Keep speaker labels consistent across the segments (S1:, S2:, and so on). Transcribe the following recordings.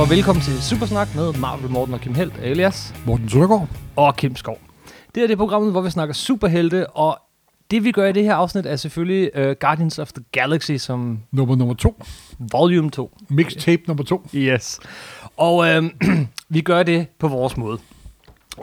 S1: og velkommen til Supersnak med Marvel Morten og Kim Helt alias
S2: Morten Søndergaard.
S1: og Kim Skov. Det her det er programmet, hvor vi snakker superhelte, og det vi gør i det her afsnit er selvfølgelig uh, Guardians of the Galaxy som
S2: Nummer nummer to.
S1: volume 2.
S2: Mixtape nummer to.
S1: Yes. Og øh, vi gør det på vores måde.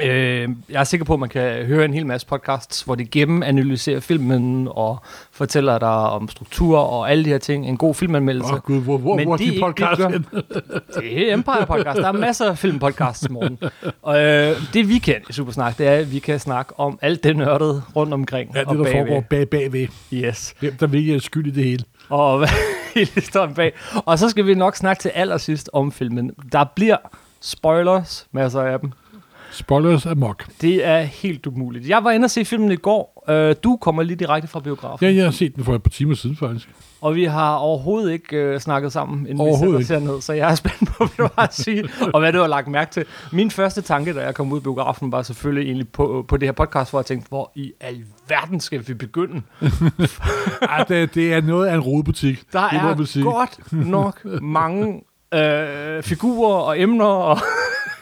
S1: Øh, jeg er sikker på, at man kan høre en hel masse podcasts, hvor de gennemanalyserer filmen og fortæller dig om struktur og alle de her ting. En god
S2: Åh
S1: filmanmeldelse.
S2: oh, gud, hvor, hvor,
S1: Altså, Men
S2: hvor er
S1: det er
S2: de
S1: ikke
S2: podcast
S1: det, vi gør.
S2: henne?
S1: Det er Empire Podcast. Der er masser af filmpodcasts, Morten. Og øh, det vi kan i Supersnak, det er, at vi kan snakke om alt det nørdede rundt omkring.
S2: Ja,
S1: og
S2: det der
S1: bagved.
S2: foregår bag bagved.
S1: Yes.
S2: Hvem der virkelig er skyld i det hele.
S1: og hvad hele historien bag. Og så skal vi nok snakke til allersidst om filmen. Der bliver spoilers, masser af dem.
S2: Spoilers amok.
S1: Det er helt umuligt. Jeg var inde og se filmen i går. Øh, Du kommer lige direkte fra biografen.
S2: Ja, jeg har set den for et par timer siden faktisk.
S1: Og vi har overhovedet ikke øh, snakket sammen, inden vi
S2: Overhovedet
S1: sætter os ned, så jeg er spændt på, hvad du har at sige, og hvad du har lagt mærke til. Min første tanke, da jeg kom ud af biografen, var selvfølgelig egentlig på, på det her podcast, hvor jeg tænkte, hvor i alverden skal vi begynde?
S2: Ej, det, det er noget af en rodebutik.
S1: Der
S2: det må
S1: er
S2: man sige.
S1: godt nok mange øh, figurer og emner og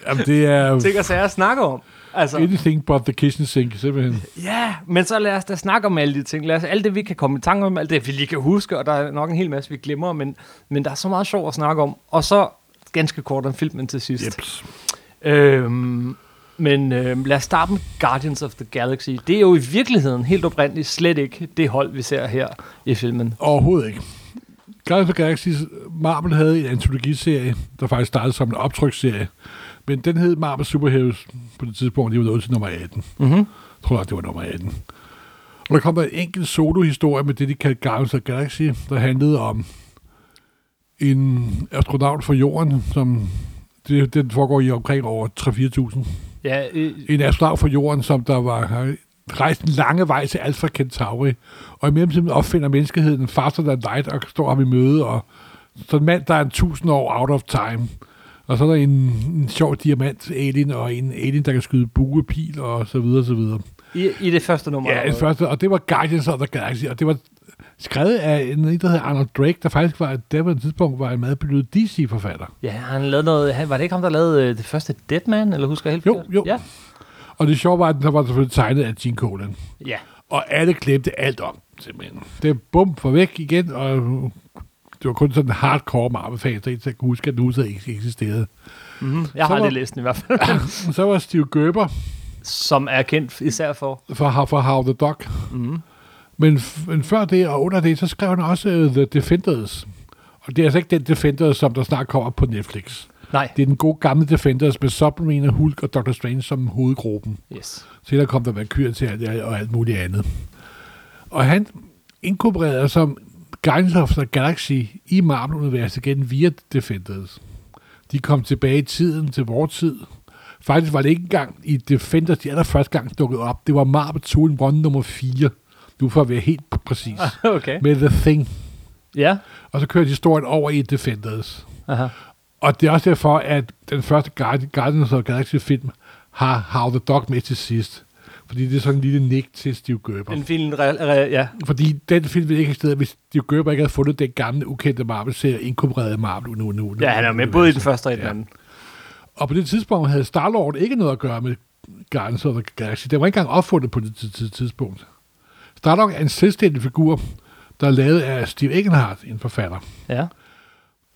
S2: Jamen, det er
S1: ting og sager at snakke om. Altså,
S2: anything but the kitchen sink, simpelthen.
S1: ja, men så lad os da snakke om alle de ting. Lad os, alt det, vi kan komme i tanke om, alt det, vi lige kan huske, og der er nok en hel masse, vi glemmer, men, men der er så meget sjov at snakke om. Og så ganske kort om filmen til sidst.
S2: Jeps.
S1: Øhm, men øhm, lad os starte med Guardians of the Galaxy. Det er jo i virkeligheden helt oprindeligt slet ikke det hold, vi ser her i filmen.
S2: Overhovedet ikke. Guardians of the Galaxy, Marvel havde en antologiserie, der faktisk startede som en optryksserie. Men den hed Marvel Superheroes på det tidspunkt, de var nået til nummer 18.
S1: Mm-hmm.
S2: Jeg tror nok, det var nummer 18. Og der kom der en enkelt solo-historie med det, de kaldte Guardians of the Galaxy, der handlede om en astronaut fra jorden, som det, den foregår i omkring over 3-4.000.
S1: Ja, øh,
S2: En astronaut fra jorden, som der var har rejst en lange vej til Alpha Centauri, og i mellemtiden opfinder menneskeheden faster than light, og står ham i møde, og så en mand, der er en tusind år out of time. Og så er der en, en sjov diamant alien, og en alien, der kan skyde buepil, og så videre, så videre.
S1: i, i det første nummer.
S2: Ja, den første, og det var Guardians of the Galaxy, og det var skrevet af en, en der hedder Arnold Drake, der faktisk var, der på et tidspunkt var en meget belødt DC-forfatter.
S1: ja, han lavede noget. Han, var det ikke ham, der lavede øh, det første Deadman, eller husker jeg helt
S2: Jo,
S1: forkert?
S2: jo.
S1: Ja.
S2: Og det sjove var, at den så var selvfølgelig tegnet af Gene Colan.
S1: ja.
S2: Og alle glemte alt om, simpelthen. Det er bum for væk igen, og det var kun sådan en hardcore Marvel-fans, der ikke kunne huske, at den huset ikke eksisterede.
S1: Mm-hmm. Jeg har
S2: Så var-
S1: aldrig læst den i hvert fald.
S2: Så var Steve Gerber
S1: Som er kendt især for.
S2: fra, fra How the Dog.
S1: Mm-hmm.
S2: Men, f- men før det og under det, så skrev han også uh, The Defenders. Og det er altså ikke den Defenders, som der snart kommer på Netflix.
S1: Nej.
S2: Det er den gode gamle Defenders med Submarine, Hulk og Doctor Strange som hovedgruppen.
S1: Yes.
S2: Senere kom der Valkyrie til alt, og alt muligt andet. Og han inkorporerede som Guardians of the Galaxy i Marvel-universet igen via Defenders. De kom tilbage i tiden, til vores tid. Faktisk var det ikke engang i Defenders, de allerførste gang dukkede op. Det var Marvel 2 in 1 nummer 4. Nu for at være helt præcis.
S1: Ah, Okay.
S2: Med The Thing.
S1: Ja.
S2: Og så kørte historien over i Defenders.
S1: Aha.
S2: Og det er også derfor, at den første Guardi- Guardians of the Galaxy-film har How the Dog med til sidst. Fordi det er sådan en lille nik til Steve Gerber.
S1: En fin... Re- re- ja.
S2: Fordi den film ville ikke have stedet, hvis Steve Gerber ikke havde fundet den gamle, ukendte Marvel-serie, inkorporeret i Marvel nu, nu, nu.
S1: ja, han er med både i den første og i den
S2: Ja.
S1: anden.
S2: Og på det tidspunkt havde Star-Lord ikke noget at gøre med Guardians of the Galaxy. Den var ikke engang opfundet på det tid- tid- tidspunkt. Star-Lord er en selvstændig figur, der er lavet af Steve Eggenhardt, en forfatter.
S1: Ja.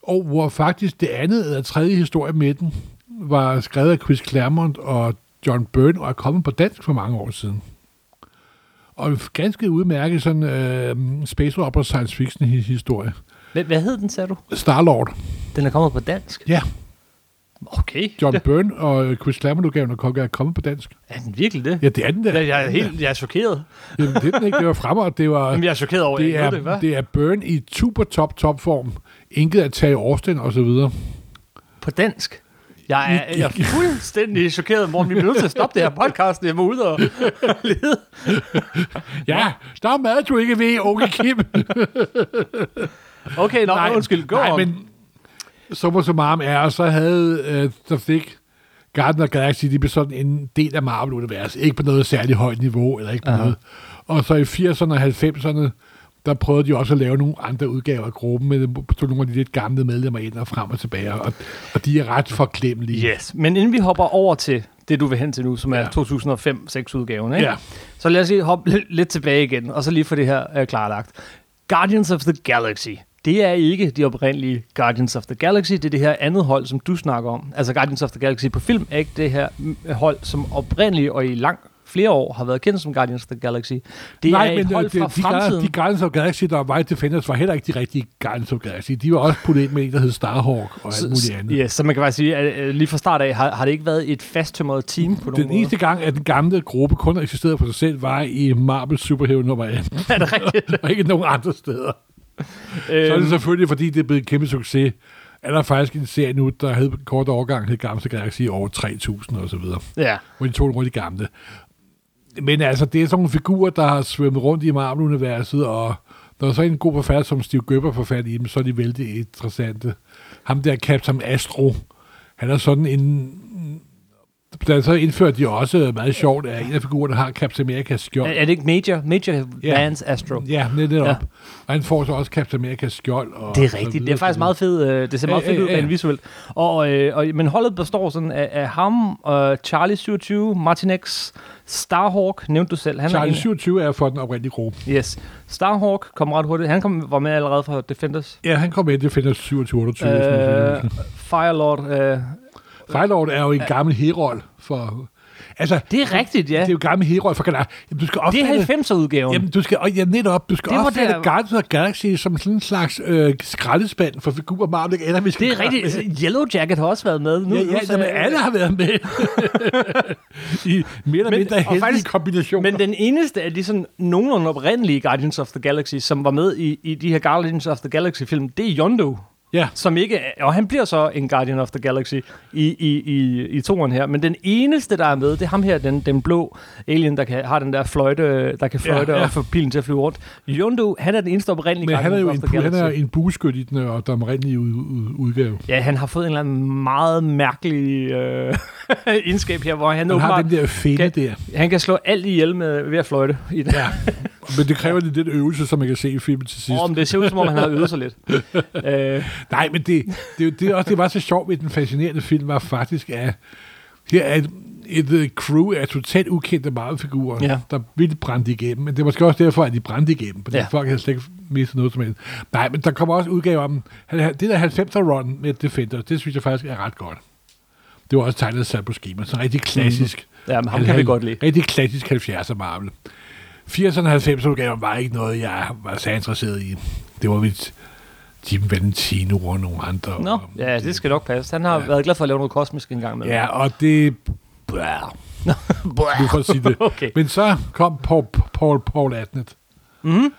S2: Og hvor faktisk det andet eller tredje historie med den var skrevet af Chris Claremont og John Byrne og er kommet på dansk for mange år siden. Og en ganske udmærket sådan øh, space opera science fiction hi- historie.
S1: Hvad, hvad hed den, sagde du?
S2: Starlord.
S1: Den er kommet på dansk.
S2: Ja,
S1: Okay.
S2: John Byrne og øh, Chris Claremont udgaven af Konge er kommet på dansk.
S1: Er den virkelig det?
S2: Ja, det er den der.
S1: Jeg, jeg, er helt, jeg er chokeret.
S2: Jamen, det er den ikke. Det var fremme, og det var...
S1: Jamen, jeg er chokeret over, at
S2: det
S1: jeg
S2: er,
S1: ikke ved det, hva'?
S2: det er Byrne i super top, top form. Inket at tage Austin og så videre.
S1: På dansk. Jeg er,
S2: I-
S1: jeg er fuldstændig chokeret, Morten. Vi bliver nødt til at stoppe det her podcast. Jeg må ud og lede.
S2: Ja, der er mad, du ikke ved, Onkel Kim.
S1: Okay, nå, nej, undskyld. Gå
S2: nej,
S1: om.
S2: men summa summarum er, og så havde, øh, så fik Garden og Galaxy, de blev sådan en del af Marvel-universet. Ikke på noget særligt højt niveau, eller ikke på
S1: Aha.
S2: noget. Og så i 80'erne og 90'erne, der prøvede de også at lave nogle andre udgaver af gruppen, med tog nogle af de lidt gamle medlemmer ind og frem og tilbage, og, og de er ret forklemmelige.
S1: Yes, men inden vi hopper over til det, du vil hen til nu, som er
S2: Ja.
S1: 2005-6-udgaven, ikke?
S2: Ja.
S1: så lad os lige hoppe lidt- lidt tilbage igen, og så lige få det her øh, klarlagt. Guardians of the Galaxy, det er ikke de oprindelige Guardians of the Galaxy, det er det her andet hold, som du snakker om. Altså Guardians of the Galaxy på film er ikke det her mm, hold, som oprindeligt og i lang flere år har været kendt som Guardians of the Galaxy. Det er et hold fra
S2: øh, de,
S1: fremtiden.
S2: de Guardians of Galaxy, der var i Defenders, var heller ikke de rigtige Guardians of Galaxy. De var også puttet ind med en, der hed Starhawk og alt muligt andet.
S1: Ja, så man kan bare sige, at øh, lige fra start af har, har det ikke været et fasttømret team på nogen
S2: Den
S1: måde.
S2: eneste gang, at den gamle gruppe kun har eksisteret for sig selv, var i Marvel Superhero nummer 18,
S1: Er det rigtigt? Øhm.
S2: og ikke nogen andre steder. Så er det selvfølgelig, fordi det er blevet en kæmpe succes, er der faktisk en serie nu, der hed på en kort overgang, hed Gamle Galaxy over 3000 og så videre,
S1: Øhm, ja.
S2: hvor de tog nogle af de gamle. Men altså, det er sådan nogle figurer, der har svømmet rundt i Marvel-universet, og når så en god forfatter som Steve Gerber får fat i dem, så er de vældig interessante. Ham der Captain Astro, han er sådan en... Der så indførte de også øh, meget sjovt, at en af figurerne har Captain America's skjold.
S1: Er, er det ikke Major? Major
S2: Ja.
S1: Vance Astro.
S2: Ja, net- netop.
S1: Ja.
S2: Ja. Og han får så også Captain America's skjold. Og
S1: Det er
S2: så
S1: rigtigt.
S2: videre,
S1: Det er faktisk
S2: så
S1: meget fedt. øh, Det ser meget
S2: Ja, ja,
S1: fedt ud
S2: ja.
S1: rent visuelt. Og, øh, og, men holdet består sådan af, af ham, øh, Charlie 27, Martin X, Starhawk, nævnte du selv. Han
S2: Charlie
S1: er en,
S2: 27 er for den oprindelige gruppe.
S1: yes. Starhawk kom ret hurtigt. Han kom, var med allerede fra Defenders.
S2: Ja, han kom ind, det finder 27 28. Øh,
S1: Øh, Firelord. Øh.
S2: Firelord er jo en gammel herold for... Altså, det,
S1: Det er rigtigt, ja.
S2: det er jo gammel herold for Galactic. Jamen, du skal
S1: Det
S2: opfatte...
S1: er 90'er-udgaven.
S2: Jamen, du skal, og ja, netop, du skal
S1: Det var
S2: opfatte
S1: der-
S2: Guardians of the Galaxy som sådan en slags øh, skraldespand for figurer, Marvel ikke ender, vi skal
S1: Det er
S2: gøre med.
S1: rigtigt. Altså, Yellow Jacket har også været med. Nu,
S2: Ja,
S1: nu
S2: ja,
S1: sagde-
S2: jamen, alle har været med. I mere eller
S1: Men-
S2: mindre
S1: og
S2: heldige
S1: faktisk-
S2: kombinationer.
S1: Men den eneste af de sådan nogenlunde oprindelige Guardians of the Galaxy, som var med i, i de her Guardians of the Galaxy-film, det er Yondo.
S2: ja.
S1: Som ikke er, og han bliver så en Guardian of the Galaxy i, i, i, i toren her. Men den eneste, der er med, det er ham her, den, den blå alien, der kan, har den der fløjte, der kan
S2: Ja,
S1: fløjte ja, ja.
S2: ja.
S1: og få pilen til at flyve rundt. Yondo, han er den eneste oprindelige
S2: Men han er jo
S1: Guardians
S2: en,
S1: of the
S2: han
S1: Galaxy.
S2: er en buskyt i den øh, og domrindelige ud, ud, udgave.
S1: Ja, han har fået en eller anden meget mærkelig øh, egenskab her, hvor han,
S2: Han har
S1: åbenbart,
S2: den der fælde
S1: Kan-
S2: der.
S1: han kan slå alt ihjel med, ved at fløjte i den.
S2: Ja. Men det kræver lidt lidt øvelse, som man kan se i filmen til sidst.
S1: Åh,
S2: Om.
S1: men det ser ud som om, han har øvet sig lidt. øh,
S2: Nej, men det, det, er jo- det, er også, det var så sjovt ved den fascinerende film, var faktisk, at her er et, et øh, crew af totalt ukendte Marvel-figurer,
S1: Ja.
S2: ja. der ville brænde igennem. Men det er måske også derfor, at de brændte igennem, fordi
S1: Ja.
S2: ja. folk havde slet ikke mistet noget som helst. Nej, men der kommer også udgaver om, det der 90'er run med Defender, det synes jeg faktisk er ret godt. Det var også tegnet af Sabu Schema, sådan rigtig klassisk. Mm.
S1: ja, men ham kan vi godt lide.
S2: Rigtig klassisk 70'er Marvel. 80'erne og 90'erne udgaven var ikke noget, jeg var så interesseret i. Det var mit Jim Valentino og nogle andre.
S1: Nå,
S2: Og-
S1: ja, det skal nok passe. Han har ja. været glad for at lave noget kosmisk en gang med.
S2: Ja, og det... Blah, nu for at sige det.
S1: Okay.
S2: Men så kom Paul, Paul, Paul Atnet.
S1: Mhm.
S2: Mm.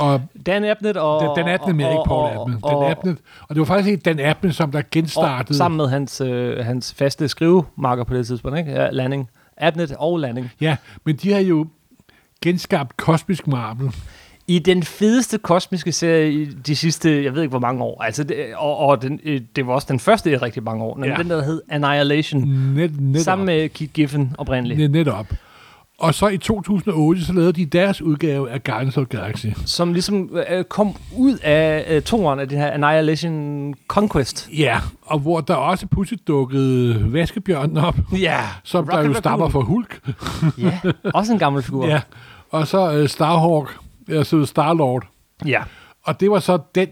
S2: Og
S1: Dan Abnett og...
S2: den, den 18. mere, ikke Paul Atnet.
S1: og-
S2: Den 18. Og det var faktisk ikke den 18, som der
S1: Og,
S2: genstartede.
S1: sammen med hans, øh, hans faste skrivemarker på det tidspunkt, ikke? Ja, Landing. Abnett og Landing.
S2: Ja, men de har jo genskabt kosmisk Marvel.
S1: I den fedeste kosmiske serie i de sidste, jeg ved ikke hvor mange år, altså det, og, og den, øh, det var også den første i rigtig mange år, nemlig
S2: Ja.
S1: den der hed Annihilation,
S2: Net, netop.
S1: sammen med Keith Giffen oprindeligt,
S2: Net, netop. Og så i 2008, så lavede de deres udgave af Guardians of the Galaxy.
S1: som ligesom øh, kom ud af øh, toren af den her Annihilation Conquest.
S2: Ja, og hvor der også pludselig dukkede vaskebjørnen op,
S1: Ja,
S2: som
S1: Rocket
S2: der jo stammer
S1: Raccoon.
S2: fra Hulk.
S1: Ja, også en gammel figur.
S2: Ja. Og så øh, Starhawk, altså Starlord.
S1: ja.
S2: Og det var så den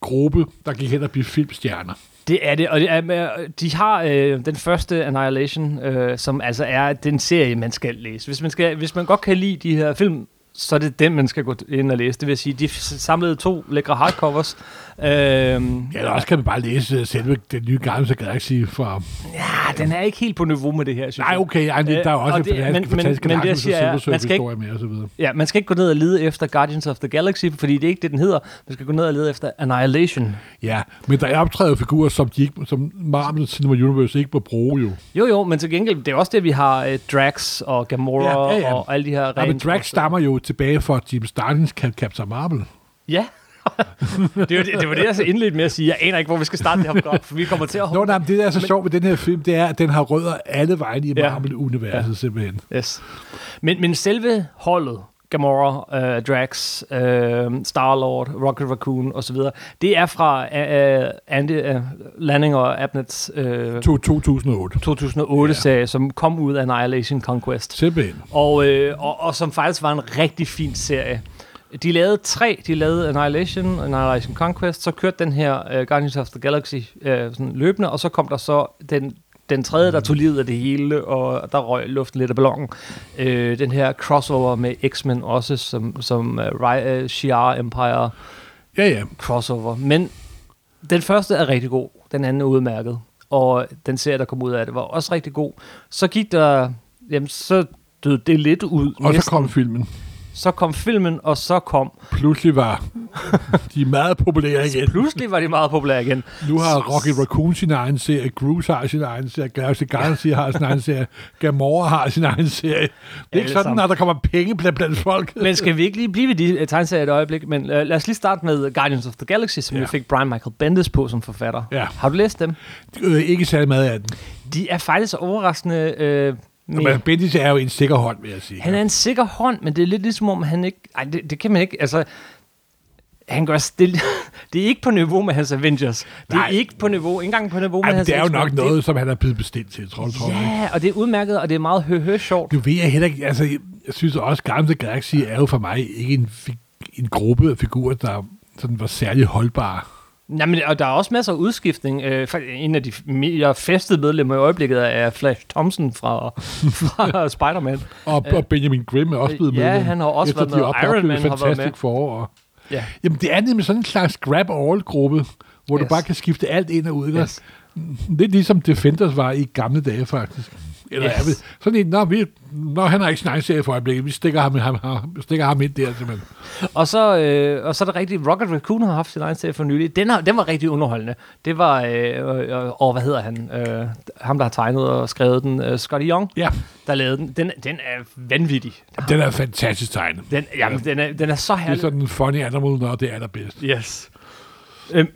S2: gruppe, der gik hen og blev filmstjerner.
S1: Det er det, og det er, med- de har øh, den første Annihilation, øh, som altså er den serie, man skal læse. Hvis man, skal, hvis man godt kan lide de her film, så er det den, man skal gå ind og læse. Det vil sige, de samlede to lækre hardcovers. Øh, ja,
S2: Ja, eller også kan man bare læse øh, selve den nye Guardians of the Galaxy fra...
S1: den er ikke helt på niveau med det her, synes
S2: Nej,
S1: jeg.
S2: okay, ej, det, der er jo
S1: Øh,
S2: også
S1: og
S2: en
S1: det- men-
S2: fantastisk,
S1: men-
S2: fantastisk
S1: men det, jeg
S2: Galactus
S1: siger er,
S2: og
S1: man skal ikke-
S2: Silver med og så videre.
S1: Ja, man skal ikke gå ned og lede efter Guardians of the Galaxy, fordi det er ikke det, den hedder. Man skal gå ned og lede efter Annihilation.
S2: Ja, men der er optrædet figurer, som, de ikke, som Marvel Cinema Universe ikke må bruge jo.
S1: Jo, jo, men til gengæld, det er også det, vi har øh, Drax og Gamora ja, ja, ja. og alle de her...
S2: Ja, men
S1: rent-
S2: Drax stammer jo tilbage fra Jim Starlins Cap- Captain Marvel.
S1: Ja. det, var det, det var det, jeg så indledte med at sige. Jeg aner ikke, hvor vi skal starte det her program, for vi kommer til at...
S2: Nå, nej, men det der er så sjovt ved den her film, det er, at den har rødder alle vejen i
S1: Ja.
S2: Marvel-universet simpelthen.
S1: Yes. Men, men selve holdet, Gamora, øh, Drax, øh, Star-Lord, Rocket Raccoon osv. Det er fra øh, Andy, øh, Landing og Abnets øh,
S2: To- 2008.
S1: 2008-serie, som kom ud af Annihilation Conquest.
S2: Simpelthen.
S1: og, øh, og, og som faktisk var en rigtig fin serie. De lavede tre. De lavede Annihilation, Annihilation Conquest, så kørte den her uh, Guardians of the Galaxy uh, sådan løbende, og så kom der så den, den tredje, der tog livet af det hele, og der røg luften lidt af ballongen. Uh, den her crossover med X-Men også, som, som uh, Ry- uh, Shi'ar Empire
S2: Ja, ja.
S1: crossover. Men den første er rigtig god, den anden er udmærket, og den serie, der kom ud af det, var også rigtig god. Så gik der, jamen så døde det lidt ud.
S2: Og så
S1: næsten.
S2: kom filmen.
S1: så kom filmen, og så kom...
S2: Pludselig var de meget populære igen.
S1: Pludselig var de meget populære igen.
S2: Nu har Rocket Raccoon sin egen serie, Groose har sin egen serie, Galaxy Guardians har sin egen serie, Gamora har sin egen serie. Det er
S1: Alle
S2: ikke sådan,
S1: sammen.
S2: at der kommer penge blandt, blandt folk.
S1: Men skal vi ikke lige blive ved de øh, tegneserier et øjeblik? Men øh, lad os lige starte med Guardians of the Galaxy, som
S2: Ja.
S1: vi fik Brian Michael Bendis på som forfatter.
S2: Ja.
S1: Har du læst dem?
S2: Øh, ikke særlig meget af den.
S1: De er faktisk overraskende... Øh, mere-
S2: Men Bendis er jo en sikker hånd, vil jeg sige.
S1: Han er en sikker hånd, men det er lidt ligesom om han ikke... Ej, det, det kan man ikke... Altså, han gør stille... det er ikke på niveau med hans Avengers. Det er
S2: Nej.
S1: ikke på niveau, ikke engang på niveau med
S2: Ej, men
S1: hans
S2: det er jo
S1: X-Men.
S2: nok noget, som han er blevet bestilt til, tror jeg. tror jeg.
S1: Ja, og det er udmærket, og det er meget høhø sjovt.
S2: Nu ved jeg heller ikke, altså, jeg, jeg synes også, Guardians of the Galaxy er jo for mig ikke en, fi- en gruppe af figurer, der sådan var særlig holdbare.
S1: Nej, men, og der er også masser af udskiftning. Øh, fakt- en af de mere festede medlemmer i øøjeblikket er Flash Thompson fra, fra Spider-Man.
S2: Og, og Benjamin Grimm er også blevet
S1: Øh, ja,
S2: med.
S1: han har også været med, og Iron Man har været med.
S2: Forår. Og,
S1: Ja.
S2: Jamen, det er nemlig sådan en slags grab-all-gruppe, hvor yes.
S1: Yes.
S2: du bare kan skifte alt ind og ud. ikke?
S1: Yes.
S2: Lidt ligesom Defenders var i gamle dage, faktisk. Eller
S1: Yes.
S2: yes. er det sådan en, når, vi, når han har ikke sin egen serie for øjeblikket, vi stikker ham, ham, ham, stikker ham ind der, simpelthen.
S1: Og så, øh, og så er det rigtigt, Rocket Raccoon har haft sin egen serie for nylig. Den, har, den var rigtig underholdende. Det var, øh, øh, øh, og hvad hedder han? Øh, ham, der har tegnet og skrevet den. Øh, Scotty Young,
S2: Ja,
S1: der lavede den. Den, den er vanvittig.
S2: den er fantastisk tegnet.
S1: Den, jamen, den, er, den er så
S2: Det er
S1: herlig.
S2: sådan en funny animal, når det er allerbedst.
S1: Yes. Øhm,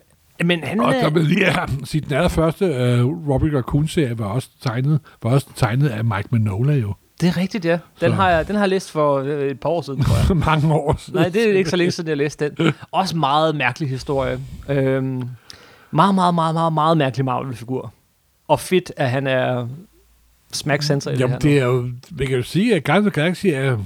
S1: men øh, han
S2: Og så
S1: er...
S2: vil jeg lige have- sige, den allerførste uh, Robert Raccoon-serie var også, tegnet, var også tegnet af Mike Manola jo.
S1: Det er rigtigt, ja. Den
S2: Så.
S1: har, jeg, den har jeg læst for øh, et par år siden, tror jeg.
S2: For mange år siden.
S1: Nej, det er ikke så længe siden, jeg læste den. Også meget mærkelig historie. Øhm, meget, meget, meget, meget, meget mærkelig Marvel-figur. Og fedt, at han er smack center i
S2: Jamen,
S1: det her.
S2: det er jo, vi kan jo sige, at Guardians of the Galaxy er,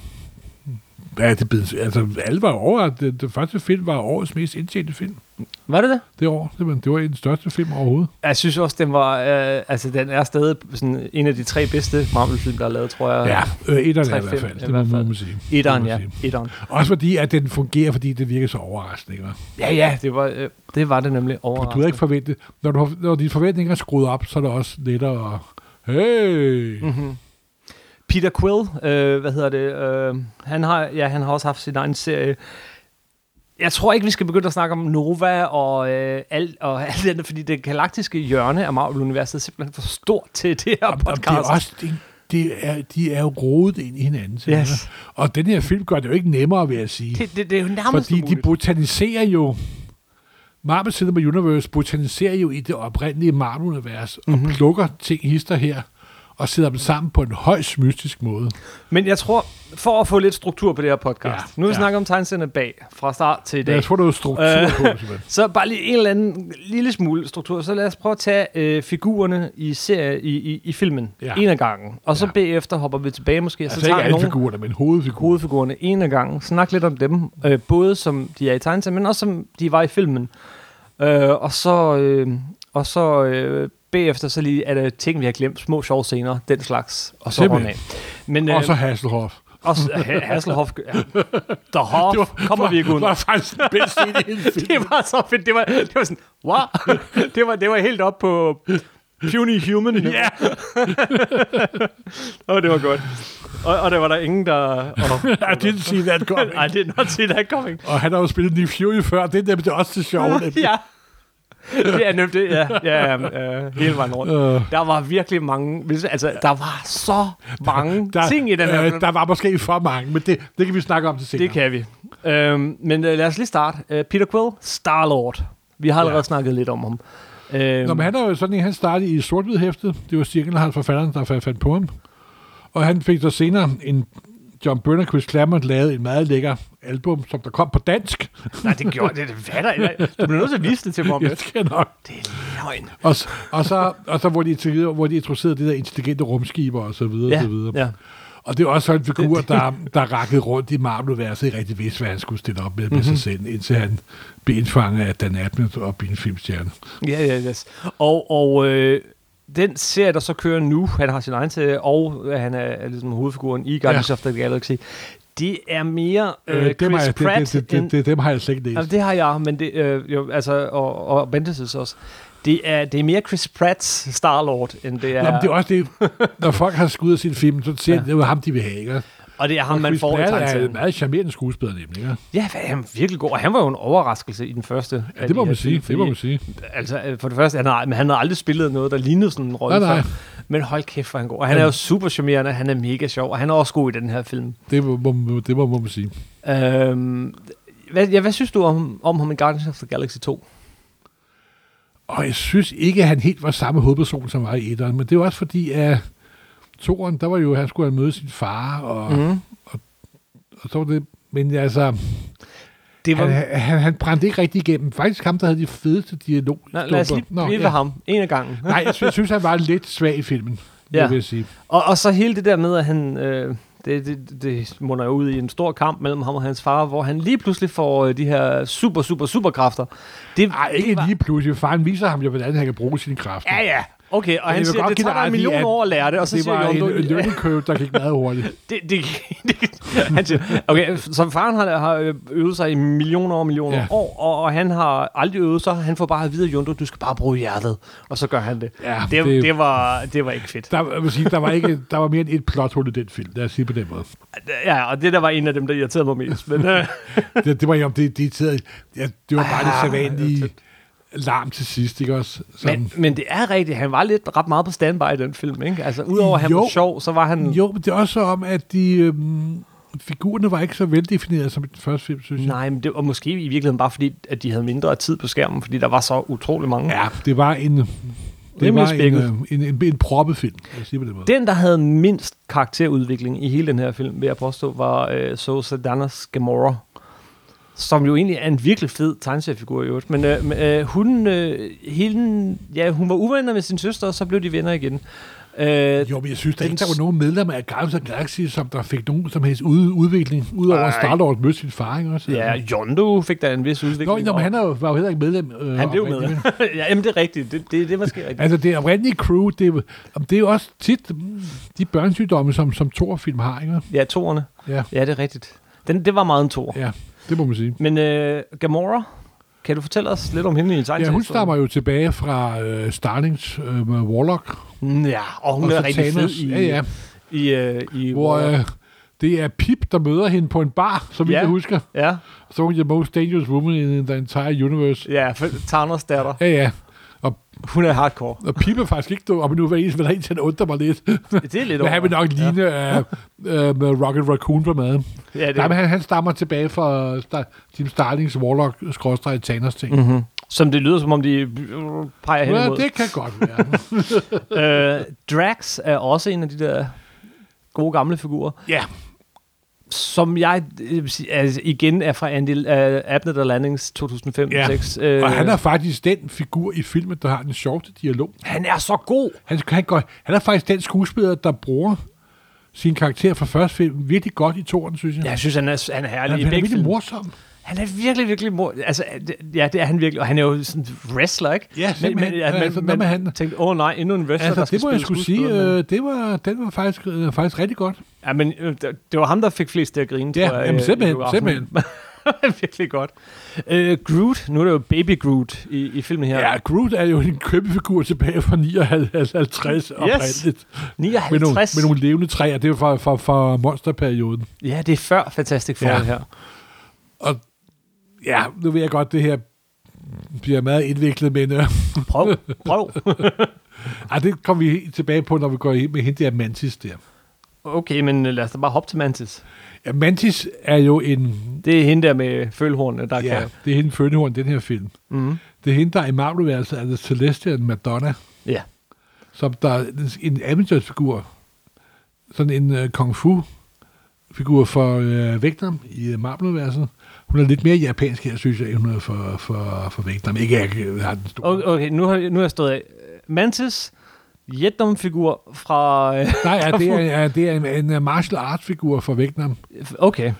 S2: ja, det blev, altså, alle var over, at det, det første film var årets mest indtjente film.
S1: nu. Var det det?
S2: Det år, simpelthen. Det var den største film overhovedet.
S1: Jeg synes også, den var, øh, altså, den er stadig sådan en af de tre bedste Marvel-film, der er lavet, tror jeg.
S2: Ja, øh, etteren
S1: tre
S2: er i hvert
S1: film
S2: fald.
S1: i
S2: Det må
S1: hvert fald.
S2: må man sige. Det må
S1: Etteren,
S2: man
S1: ja.
S2: sige.
S1: Etteren.
S2: Også fordi, at den fungerer, fordi det virker så overraskende. Ikke? hva'?
S1: Ja, ja, det var, øh, det, var det nemlig
S2: Du havde
S1: overraskende.
S2: ikke forventet. Når, du har, når dine forventninger er skruet op, så er det også lettere at... Hey! Mm.
S1: Mm-hmm. Peter Quill, øh, hvad hedder det? Øh, han har, ja, han har også haft sin egen serie. Jeg tror ikke, vi skal begynde at snakke om Nova og øh, alt og alt det andet, fordi det galaktiske hjørne af Marvel-universet er simpelthen for stort til det her
S2: Og det er
S1: podcast.
S2: også, det, det er, de er jo rodet ind i hinanden. simpelthen.
S1: Yes.
S2: Og den her film gør det jo ikke nemmere, vil jeg sige.
S1: det, det, det er jo nærmest
S2: Fordi de
S1: umuligt.
S2: botaniserer jo... Marvel Cinema Universe botaniserer jo i det oprindelige Marvel-univers
S1: Mhm.
S2: mm-hmm. og plukker ting hister her og sætter dem sammen på en højst mystisk måde.
S1: Men jeg tror, for at få lidt struktur på det her podcast,
S2: Ja,
S1: nu vil vi
S2: ja.
S1: snakke om tegnserne bag, fra start til i dag.
S2: Jeg tror, der er struktur
S1: Øh.
S2: øh. på, simpelthen.
S1: Så bare lige en eller anden lille smule struktur. Så lad os prøve at tage øh, figurerne i, serie, i, i, i filmen ja.
S2: Ja.
S1: en af gangen. Og så ja.
S2: Ja.
S1: bagefter hopper vi tilbage måske, og så
S2: Altså
S1: tager
S2: ikke
S1: vi
S2: alle
S1: nogle
S2: figurerne, men hovedfigurer.
S1: hovedfigurerne en af gangen. Snak lidt om dem, øh, både som de er i tegneserien, men også som de var i filmen. Øh, og så, øh, og så øh, bagefter så lige er der ting, vi har glemt. Små sjove scener, den slags. Og så rundt
S2: Simpelthen.
S1: af. Men, øh,
S2: Og så Hasselhoff.
S1: også Ha- Hasselhoff. Ja. The Hoff kommer vi ikke
S2: Det var
S1: uden.
S2: faktisk den bedste scene i hele filmen.
S1: det var så fedt. Det var, det var sådan, wow. det, var, det var helt op på puny human. Ja. og det var godt. Og, og der var der ingen, der... Oh,
S2: I didn't see that coming.
S1: I did not see that coming.
S2: Og han har jo spillet Nick Fury før, det er nemlig også det sjove. nemlig.
S1: ja. Det er nemt, det, ja, ja, ja øh, hele vejen rundt.
S2: Øh.
S1: Der var virkelig mange, hvis- altså, der var så mange
S2: Der,
S1: ting i den her
S2: øh, der var måske for mange, men det, det kan vi snakke om til senere.
S1: Det kan vi. Øhm, men øh, lad os lige starte. Øh, Peter Quill, Star-Lord. Vi har allerede ja.
S2: Ja.
S1: snakket lidt om ham. Øhm,
S2: Nå, men han er jo sådan en, han startede i sort hæftet. Det var Cirkelhals forfatteren, der fandt på ham. Og han fik så senere en John Byrne og Chris Claremont lavede et meget lækker album, som der kom på dansk.
S1: Nej, det gjorde det. det hvad er der? Du bliver nødt til at vise det til mig om
S2: Jeg
S1: lidt.
S2: skal nok.
S1: Det er løgn.
S2: Og, s- og, så, og så hvor de, introducerede- hvor de introducerede det der intelligente rumskiber og så videre. og så videre.
S1: ja.
S2: Og det er også sådan en figur, der, der rakkede rundt i Marvel-universet, ikke rigtig vidste, hvad han skulle stille op med, med
S1: Mhm.
S2: sig selv, indtil han blev indfanget af Dan Abnett og blev en filmstjerne.
S1: Ja, ja, yes. Og, og øh, den serie, der så kører nu, han har sin egen serie, og øh, han er, er ligesom hovedfiguren i Guardians ja.
S2: Ja.
S1: of the Galaxy, det er mere øh,
S2: Øh,
S1: Chris
S2: dem, har jeg,
S1: Pratt
S2: det, det,
S1: end-
S2: det, det, dem har jeg slet ikke læst.
S1: Jamen, det har jeg, men det, øh, jo, altså, og, og Bendis også. Det er, det er mere Chris Pratt's Star-Lord, end det er,
S2: Jamen, det er også det, når folk har skudt sin film, så ser
S1: Ja.
S2: ja. det var ham, de vil have, ikke?
S1: og det er ham, man
S2: Chris
S1: får i
S2: Pratt er en
S1: tegneserien.
S2: meget charmerende skuespiller, nemlig, ikke?
S1: Ja, hvad, han er virkelig god, og han var jo en overraskelse i den første.
S2: Ja, det må man sige, det må man
S1: sige.
S2: sige.
S1: Altså, øh, for det første, han har, men han har aldrig spillet noget, der lignede sådan en rolle
S2: Nej, nej.
S1: før. Men hold kæft, hvor er han god. Og han er jo super charmerende, han er mega sjov, og han er også god i den her film.
S2: Det må, må- må, det må, må man sige.
S1: Øhm, hvad, ja, hvad synes du om, om ham i Guardians of the Galaxy 2?
S2: Og jeg synes ikke, at han helt var samme hovedperson, som var i etteren, men det er jo også fordi, at toren, der var jo, han skulle have møde sin far, og,
S1: Mhm.
S2: mm. og så var det, men altså,
S1: Det var,
S2: han, han, han brændte ikke rigtig igennem. Faktisk ham, der havde de fedeste dialog.
S1: Nå, lad os lige blive ved ham, en af gangen.
S2: Nej, jeg synes, jeg synes, han var lidt svag i filmen,
S1: Ja.
S2: ja. vil jeg sige.
S1: Og, og så hele det der med, at han... Øh, det, det, det munder jo ud i en stor kamp mellem ham og hans far, hvor han lige pludselig får øh, de her super, super, super kræfter. Det,
S2: Nej, ikke
S1: det var-
S2: lige pludselig. Faren viser ham jo, hvordan han kan bruge sine kræfter.
S1: Ja, ja. Okay, og
S2: jeg
S1: han
S2: vil
S1: siger,
S2: godt
S1: det
S2: give
S1: tager
S2: dig
S1: dig en
S2: ret i,
S1: million
S2: at
S1: år at lære det, og så
S2: det
S1: siger
S2: var
S1: John
S2: en, en
S1: Doe,
S2: lønnekøb, der gik meget hurtigt.
S1: det, det, det, han siger, okay, som faren har, har øvet sig i millioner og millioner ja.
S2: Ja.
S1: år, og, og han har aldrig øvet sig. Han får bare at vide af Jondo, du skal bare bruge hjertet. Og så gør han det.
S2: Ja,
S1: det, det,
S2: det-
S1: det, var, det var ikke fedt.
S2: Der, jeg vil sige, der, var ikke, der var mere end et plothul i den film, lad os sige på den måde.
S1: Ja, og det der var en af dem, der irriterede mig mest. Men, øh,
S2: Det, det var jo om det, det, det, ja, det var bare
S1: Ah,
S2: det sædvanlige larm til sidst, ikke også? Som,
S1: men, men det er rigtigt, han var lidt ret meget på standby i den film, ikke? Altså, udover at han
S2: Jo.
S1: var sjov, så var han...
S2: jo, men det er også om, at de, øhm, figurerne var ikke så veldefinerede som i den første film, synes jeg.
S1: Nej, men det var måske i virkeligheden bare fordi, at de havde mindre tid på skærmen, fordi der var så utrolig mange.
S2: Ja, det var en... Det
S1: Rimelig
S2: var en,
S1: spækket.
S2: øh, en, en, en proppet film, lad os sige på den måde.
S1: Den, der havde mindst karakterudvikling i hele den her film, vil jeg påstå, var øh, Sosa Danas Gamora, som jo egentlig er en virkelig fed tegneseriefigur i øvrigt. Men øh, men, øh, hun, øh, hele, ja, hun var uvenner med sin søster, og så blev de venner igen. Øh,
S2: Jo, men jeg synes, der,
S1: Den-
S2: ikke, der var nogen medlemmer af Guardians of the Galaxy, som der fik nogen som helst ude, udvikling, udover at Star-Lord mødte sin far, ikke også? Altså,
S1: ja, Jondo fik da en vis
S2: Nå,
S1: udvikling.
S2: nå, men
S1: og-
S2: han er jo, var jo heller ikke medlem. Øh,
S1: han blev
S2: oprindeligt,
S1: med.
S2: vel?
S1: ja, jamen, det er rigtigt. Det, det, det er måske rigtigt.
S2: Altså, det oprindelige crew, det, er- jamen, det er jo også tit mm, de børnesygdomme, som, som Thor-film har, ikke?
S1: Ja, toerne.
S2: Ja,
S1: Ja, det er rigtigt. Den, det var meget en tor.
S2: ja, det må man sige.
S1: Men øh, Gamora, kan du fortælle os lidt om hende i tegneserien?
S2: Ja, hun stammer jo tilbage fra øh, Starlings øh, med Warlock.
S1: Ja, og hun
S2: og
S1: er
S2: så
S1: rigtig fed
S2: Thanos.
S1: i,
S2: Ja, ja.
S1: i, øh, i
S2: Hvor
S1: Warlock.
S2: øh, det er Pip, der møder hende på en bar, som
S1: Ja.
S2: ja. jeg husker.
S1: Ja,
S2: Så er hun the most dangerous woman in the entire universe.
S1: ja, for- Thanos datter.
S2: Ja, ja. Og,
S1: Hun er hardcore.
S2: og Pip er faktisk ikke dum, og nu er jeg der er en, der undrer mig lidt.
S1: Det er lidt
S2: Men han vil nok ligne ja. øh, øh, med Rocket Raccoon på maden.
S1: Ja, det
S2: Nej, men
S1: er,
S2: han, han stammer tilbage fra Star, Team Starlings Warlock skråstrej Thanos ting. Mm.
S1: som det lyder, som om de øh, peger hen
S2: Ja,
S1: imod.
S2: det kan godt være.
S1: Øh, Drax er også en af de der gode gamle figurer,
S2: ja.
S1: som jeg øh, vil sige, altså igen er fra Andy uh, Abnett og Landings 2005
S2: Ja,
S1: 6
S2: Og
S1: Øh.
S2: han er faktisk den figur i filmen, der har den sjoveste dialog.
S1: han er så god.
S2: Han, han, går, han er faktisk den skuespiller, der bruger sin karakter fra første film virkelig godt i toren, synes jeg.
S1: Ja, jeg synes, han er, han er herlig Altså, i
S2: han, han
S1: begge
S2: er virkelig
S1: film.
S2: morsom.
S1: Han er virkelig, virkelig mor. Altså, det- ja, det er han virkelig. Og han er jo sådan en wrestler, ikke?
S2: Ja, simpelthen.
S1: ja, man,
S2: Altså, hvad
S1: man,
S2: med
S1: man
S2: han?
S1: tænkte, åh oh, nej, endnu en wrestler, der
S2: Altså,
S1: skal
S2: det må jeg
S1: spille
S2: skulle sige,
S1: skuespiller, men-
S2: øh, det var, den var faktisk, øh, faktisk rigtig godt.
S1: Ja, men øh, det det var ham, der fik flest til at grine,
S2: Ja,
S1: tror jeg.
S2: jamen,
S1: øh, i
S2: simpelthen,
S1: biografen.
S2: simpelthen.
S1: Virkelig godt. Øh, Groot, nu er det jo Baby Groot i, i filmen her.
S2: Ja, Groot er jo en købefigur tilbage fra 59 oprindeligt. Med nogle,
S1: 59.
S2: med nogle levende træer, det er jo fra, fra, fra monsterperioden.
S1: Ja, det er før Fantastic Four
S2: Ja.
S1: ja. her.
S2: Og ja, nu ved jeg godt, det her bliver meget indviklet, men øh,
S1: Prøv, prøv.
S2: ej, det kommer vi helt tilbage på, når vi går ind med hende der Mantis der.
S1: Okay, men øh, lad os da bare hoppe til Mantis.
S2: Ja, Mantis er jo en...
S1: Det er hende der med følhornene, der
S2: Ja,
S1: kan...
S2: det er hende fødehorn, den her film.
S1: Mm.
S2: Det er hende, der i Marvel-universet er The Celestial Madonna,
S1: Ja.
S2: som der er en Avengers-figur. Sådan en uh, kung øh, fu figur for øh, Vectram i Marvel-universet. Hun er lidt mere japansk her, synes jeg, end hun er for, for, for Vectram. Ikke, at jeg har den store.
S1: Okay, okay nu, har, nu har jeg stået af. Mantis, Vietnam-figur fra... øh,
S2: Nej, ja, det er, ja, det er en, en øh, martial arts-figur for Vectram,
S1: øh, Okay,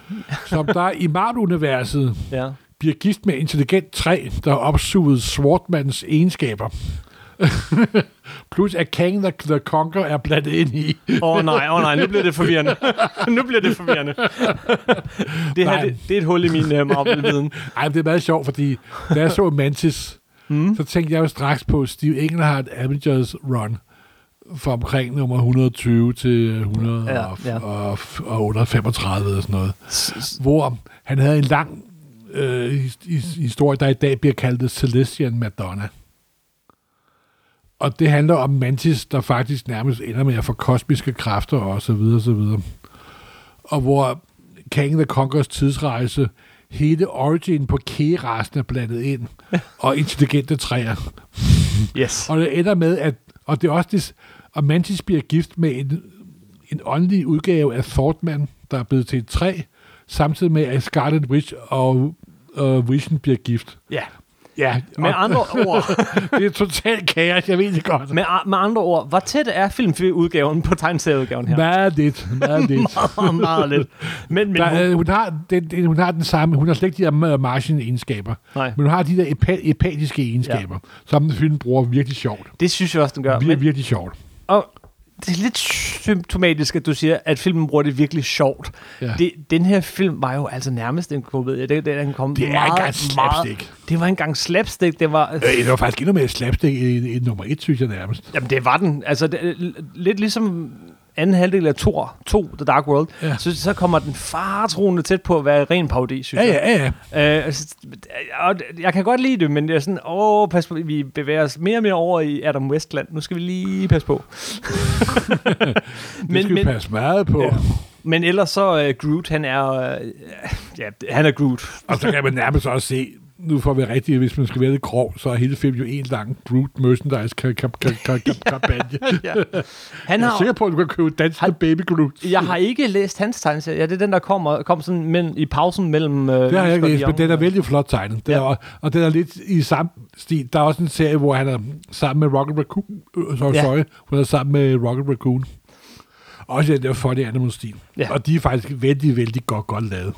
S2: som der i Marvel-universet
S1: ja.
S2: bliver gift med intelligent træ, der har opsuget Swartmans egenskaber. Plus at Kang the, the Conqueror er blandet ind i.
S1: Åh oh, nej, åh oh, nej, nu bliver det forvirrende. nu bliver det forvirrende. det her,
S2: Nej.
S1: det, det er et hul i min øh, Marvel-viden.
S2: Ej, men det er meget sjovt, fordi da jeg så Mantis,
S1: Hmm?
S2: mm. så tænkte jeg jo straks på Steve Englehart Avengers Run fra omkring nummer 120 til 100
S1: Ja,
S2: ja, ja.
S1: ja.
S2: Og, og 135 og sådan noget. Hvor han havde en lang øh, his- his- historie, der i dag bliver kaldt The Celestian Madonna. Og det handler om Mantis, der faktisk nærmest ender med at få kosmiske kræfter og så videre, så videre. Og hvor Kang the Conquerors tidsrejse, hele origin på K-rasen er blandet ind, og intelligente træer.
S1: Yes.
S2: Og det ender med, at og det er også det, og Mantis bliver gift med en, en åndelig udgave af Thortman, der er blevet til et træ, samtidig med, at Scarlet Witch og og Vision bliver gift.
S1: Ja.
S2: Ja,
S1: Med
S2: og
S1: andre ord,
S2: det er totalt kaos, jeg ved det godt.
S1: med, a- med andre ord, hvor tæt er filmudgaven på tegneserieudgaven her?
S2: Meget lidt, meget lidt.
S1: Meget, meget lidt. Men, men,
S2: Der,
S1: hun,
S2: øh, hun, har den, den, hun har den samme, hun har slet ikke de der øh, margin egenskaber,
S1: nej,
S2: men hun har de der epa- epatiske egenskaber, ja. som filmen bruger virkelig sjovt.
S1: det synes jeg også, den gør.
S2: Vir-
S1: Men,
S2: virkelig sjovt.
S1: og det er lidt symptomatisk, at du siger, at filmen bruger det virkelig sjovt.
S2: Ja.
S1: Det, den her film var jo altså nærmest en komedie. Det, det, den kom
S2: Det er
S1: meget,
S2: engang slapstick.
S1: Meget, det var engang slapstick. Det var,
S2: Øh, det var faktisk endnu mere slapstick end, end nummer et, synes jeg nærmest.
S1: Jamen, det var den. Altså, det, lidt ligesom anden halvdel af Thor 2, The Dark World,
S2: Ja.
S1: ja. så, så kommer den faretroende tæt på at være ren parodi, synes
S2: Ja, ja, ja, ja.
S1: jeg. Øh, altså, og jeg kan godt lide det, men jeg er sådan, åh, pas på, vi bevæger os mere og mere over i Adam Westland. Nu skal vi lige passe på.
S2: Det skal
S1: men,
S2: men, vi
S1: men,
S2: passe meget på. Ja.
S1: Ja. men ellers så uh, Groot, han er, uh, ja, han er Groot.
S2: Og så kan man nærmest også se, nu får vi rigtigt, hvis man skal være lidt grov, så er hele filmen jo en lang Groot merchandise ka- ka- ka- ka- ka- kampagne.
S1: Ja.
S2: Han
S1: Han
S2: jeg er
S1: har,
S2: sikker på, at du kan købe dansende
S1: Han-
S2: baby Groot.
S1: jeg har ikke læst hans tegneserie. Ja, det er den, der kommer, kom sådan men, i pausen mellem... Uh,
S2: Det har jeg ikke læst, men den er vældig flot tegnet. Den
S1: Ja.
S2: ja. er, og den er lidt i samme stil. Der er også en serie, hvor han er sammen med Rocket Raccoon. Øh, sorry,
S1: Ja.
S2: ja. sorry, hun er sammen med Rocket Raccoon. Også i den der funny animal stil.
S1: Ja.
S2: Ja. Og de er faktisk vældig, vældig godt, godt lavet.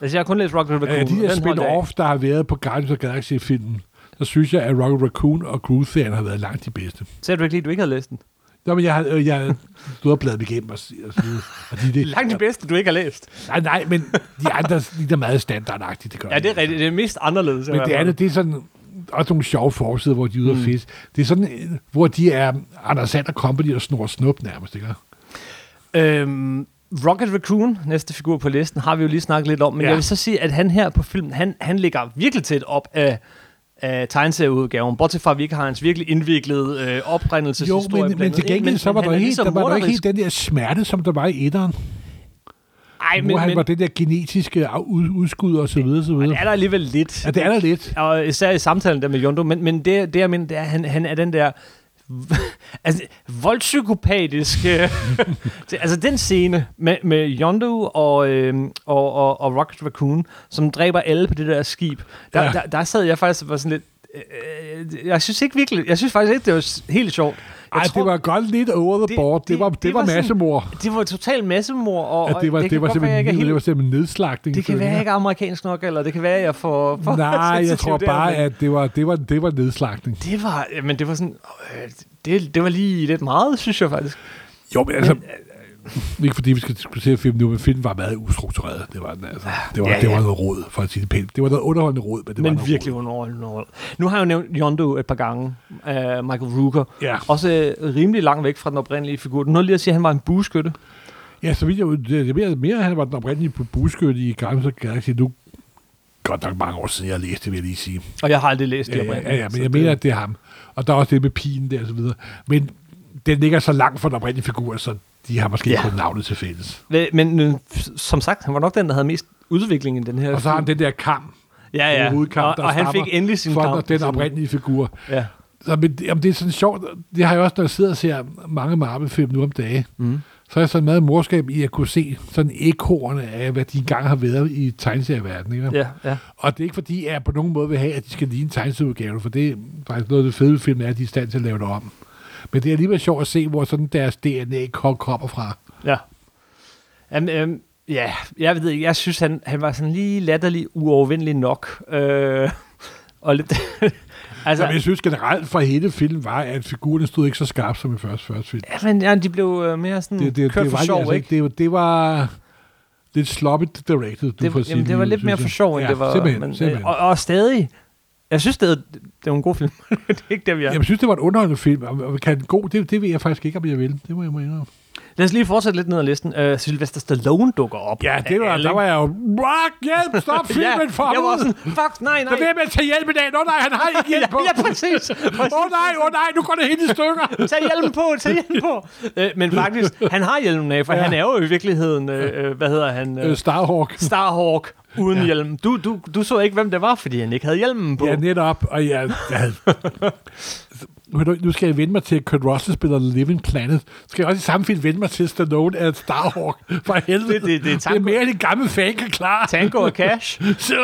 S1: Altså, jeg har kun læst Rocket Raccoon.
S2: Ja, Øh, de
S1: og
S2: der
S1: den holdt jeg af.
S2: spin-off, der har været på Guardians of the Galaxy-filmen, der synes jeg, at Rocket Raccoon og Groot-serien har været langt de bedste.
S1: Sagde du ikke lige, at du ikke havde læst den?
S2: Nå, men jeg har, øh, jeg du har bladet mig igennem og, s- og så videre. Og de, det,
S1: Langt det bedste, du ikke har læst.
S2: Nej, nej, men de andre, de er meget standardagtige, det gør
S1: Ja, det er
S2: de.
S1: rigtigt. Det er mest anderledes. i
S2: Men
S1: hvert
S2: det
S1: fald.
S2: andet, det er sådan også nogle sjove forsider, hvor de er ude mm. fisk. Det er sådan, øh, hvor de er Anders Sander Company og snor snup nærmest, ikke?
S1: Øhm, Rocket Raccoon, næste figur på listen, har vi jo lige snakket lidt om. Men ja.
S2: Ja.
S1: jeg vil så sige, at han her på filmen, han, han ligger virkelig tæt op af, af tegneserieudgaven. Bortset fra, at vi ikke har hans virkelig indviklede øh,
S2: Jo,
S1: oprindelseshistorie.
S2: men, men
S1: blandet
S2: til
S1: ind.
S2: gengæld, så var
S1: han
S2: der,
S1: er
S2: helt,
S1: ligesom
S2: der var der ikke helt
S1: morderisk.
S2: den der smerte, som der var i etteren.
S1: Ej,
S2: hvor han
S1: men,
S2: var
S1: men,
S2: den der genetiske af- ud- udskud og så videre, så videre.
S1: det er der alligevel lidt.
S2: Ja, det er der lidt.
S1: og især i samtalen der med Jondo, men, men det, det jeg mener, det er, at han, han er den der altså, voldpsykopatiske... altså, den scene med, med Yondo og, øhm, og, og, og Rocket Raccoon, som dræber alle på det der skib, der,
S2: Ja.
S1: ja. der, der sad jeg faktisk og var sådan lidt... Øh, jeg synes ikke virkelig... Jeg synes faktisk ikke, det var s- helt sjovt. Jeg
S2: Ej, tror, det var godt lidt over the
S1: det-
S2: det, board. Det,
S1: det-
S2: det var, det,
S1: det
S2: var,
S1: var sådan-
S2: massemord.
S1: Det var totalt massemord, og,
S2: Ja, det var,
S1: og
S2: det, det,
S1: kan
S2: var
S1: godt være, jeg
S2: simpelthen,
S1: ikke er
S2: helt... det var
S1: helt,
S2: simpelthen nedslagning.
S1: det kan
S2: føler
S1: være, jeg
S2: jeg.
S1: ikke er amerikansk nok, eller det kan være, jeg får... For
S2: Nej, jeg tror bare, at det var, det var, det var nedslagning.
S1: Det var, men det var sådan, øh, det, det var lige lidt meget, synes jeg faktisk.
S2: Jo, men altså... Ikke fordi vi skal diskutere filmen nu, men filmen var meget ustruktureret. Det var, den, altså, det var,
S1: Ah, Ja,
S2: ja, det var
S1: ja.
S2: noget råd, for at sige det pænt. Det var noget underholdende råd, men det var
S1: men
S2: noget
S1: virkelig
S2: Råd.
S1: underholdende. Nu har jeg jo nævnt Yondo et par gange, uh, Michael Rooker.
S2: Ja.
S1: Også øh, rimelig langt væk fra den oprindelige figur. Nu lige at sige, at han var en buskytte.
S2: Ja, så vidt jeg ud- det- det mere, mere han var den oprindelige buskytte i Guardians of the Galaxy. Nu godt nok mange år siden, jeg læste det, vil jeg lige sige.
S1: Og jeg har aldrig læst det
S2: Ja,
S1: oprindelige.
S2: ja, ja,
S1: så
S2: men jeg
S1: det-
S2: mener, at det er ham. Og der er også det med pigen der og så videre. Men den ligger så langt fra den oprindelige figur, så de har måske
S1: Ja.
S2: ja. kun navnet til fælles.
S1: Vel, Men øh, som sagt, han var nok den, der havde mest udvikling i den her.
S2: Og så har han den der kamp,
S1: ja, ja.
S2: hovedkamp,
S1: og,
S2: der
S1: og han
S2: stammer
S1: fik endelig sin
S2: for
S1: kamp. ligesom-
S2: den oprindelige figur.
S1: Ja.
S2: Så, men, det- jamen, det er sådan sjovt, det har jeg også, når jeg sidder og ser mange Marvel-film nu om dage, mm. så er jeg sådan meget morskab i at kunne se sådan ekoerne af, hvad de engang har været i tegneserieverdenen. Ikke?
S1: Ja, ja.
S2: Og det er ikke fordi, jeg på nogen måde vil have, at de skal ligne tegneserieudgaven, for det er faktisk noget af det fede ved filmen, er, at de er i stand til at lave det om. Men det er alligevel sjovt at se, hvor sådan deres DNA kom- kommer fra.
S1: Ja. Jamen, øhm, ja, jeg ved ikke, jeg synes, han, han var sådan lige latterlig uovervindelig nok. Øh, og lidt... altså,
S2: Som jeg synes generelt fra hele filmen var, at figurerne stod ikke så skarpt som i første, første film.
S1: ja, men ja, de blev øh, mere sådan
S2: Det, det,
S1: kørt
S2: det,
S1: for
S2: var,
S1: sjov,
S2: altså,
S1: ikke?
S2: ikke- det, det var lidt sloppy directed, du
S1: det,
S2: får
S1: jamen,
S2: sige
S1: det var
S2: lige,
S1: lidt mere
S2: synes
S1: for
S2: jeg.
S1: sjov, end
S2: ja,
S1: det var...
S2: Simpelthen,
S1: men, øh,
S2: simpelthen.
S1: Og, og stadig... Jeg synes stadig, det var en god film. det er ikke det, vi er.
S2: Jamen, jeg synes, det var en underholdende film, og- og kan den god, det, det ved jeg faktisk ikke, om jeg vil. Det må jeg må indrømme.
S1: Lad os lige fortsætte lidt ned ad listen. Øh, Sylvester Stallone dukker op.
S2: Ja, det var,
S1: Alle,
S2: der
S1: ikke?
S2: var jeg jo, rock, hjælp, stop filmen for
S1: Jeg var
S2: helvede!
S1: sådan, fuck, nej, nej.
S2: Der vil med at tage hjælp i dag. Nå nej, han har ikke hjælp på.
S1: ja, præcis. præcis.
S2: Åh oh, nej, åh oh, nej, nu går det helt i stykker.
S1: Tag hjelmen på, tag hjelmen på. Øh, men faktisk, han har hjelmen af, for ja.
S2: Ja.
S1: han er jo i virkeligheden, øh, øh, hvad hedder han,
S2: Øh,
S1: øh,
S2: Starhawk.
S1: Starhawk uden ja.
S2: Ja.
S1: hjelm. Du, du, du så ikke, hvem det var, fordi han ikke havde hjelmen på.
S2: Ja,
S1: Ja,
S2: netop. Og jeg, jeg havde... Ved du, Nu skal jeg vende mig til, at Kurt Russell spiller Living Planet. Skal jeg også i samme film vende mig til, at Stallone er Starhawk? For helvede.
S1: Det- det- det er
S2: det er mere end en gammel fan kan klare.
S1: Tango og Cash.
S2: Så!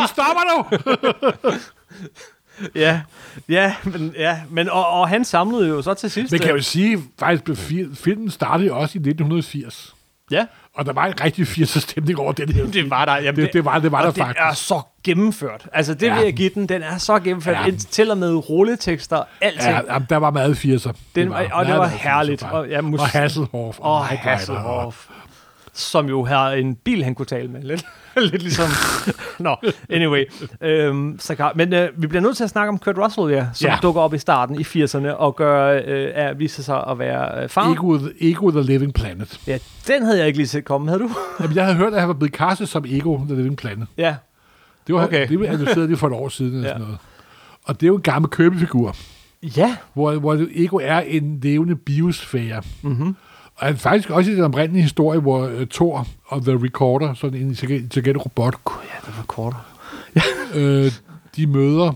S2: Nu stopper du!
S1: ja, ja, men, ja, men og, og han samlede jo så til sidst.
S2: Men kan jeg
S1: øh,
S2: jo sige, faktisk blev fi- filmen startede jo også i 1980.
S1: Ja,
S2: Og der var en rigtig 80'er stemning over den her. Det,
S1: det var der. Jamen,
S2: det, det var, det var
S1: og
S2: der
S1: det
S2: faktisk.
S1: er så gennemført. Altså, det ja.
S2: Ja.
S1: vil jeg give den. Den er så gennemført.
S2: Ja.
S1: Ja. Til og med rulletekster, alting.
S2: Ja, jamen, der var meget 80'er.
S1: Den, og, og det
S2: meget
S1: var
S2: 80'er
S1: herligt.
S2: faktisk.
S1: Og, ja, mus-
S2: og Hasselhoff. Oh
S1: og
S2: Knight Rider.
S1: Hasselhoff. Som jo har en bil, han kunne tale med. Lidt, lidt ligesom... Nå, anyway. Øhm, så, klar- men øh, vi bliver nødt til at snakke om Kurt Russell, ja, som ja.
S2: Ja.
S1: dukker op i starten i 80'erne og gør, øh, er, viser sig at være øh, far.
S2: Ego, Ego The Living Planet.
S1: Ja, den havde jeg ikke lige set komme, havde du?
S2: Jamen, jeg havde hørt, at han var blevet castet som Ego The Living Planet.
S1: ja,
S2: Det var
S1: Okay.
S2: okay. det blev analyseret lige for et år siden. Eller
S1: Ja.
S2: sådan noget. Og det er jo en gammel købefigur,
S1: ja,
S2: hvor, hvor Ego er en levende biosfære. Mm-hmm. Og han er faktisk også i den oprindelige historie, hvor uh, Thor og The Recorder, sådan en intelligent intelligent robot,
S1: ja det var kortere.
S2: øh, de møder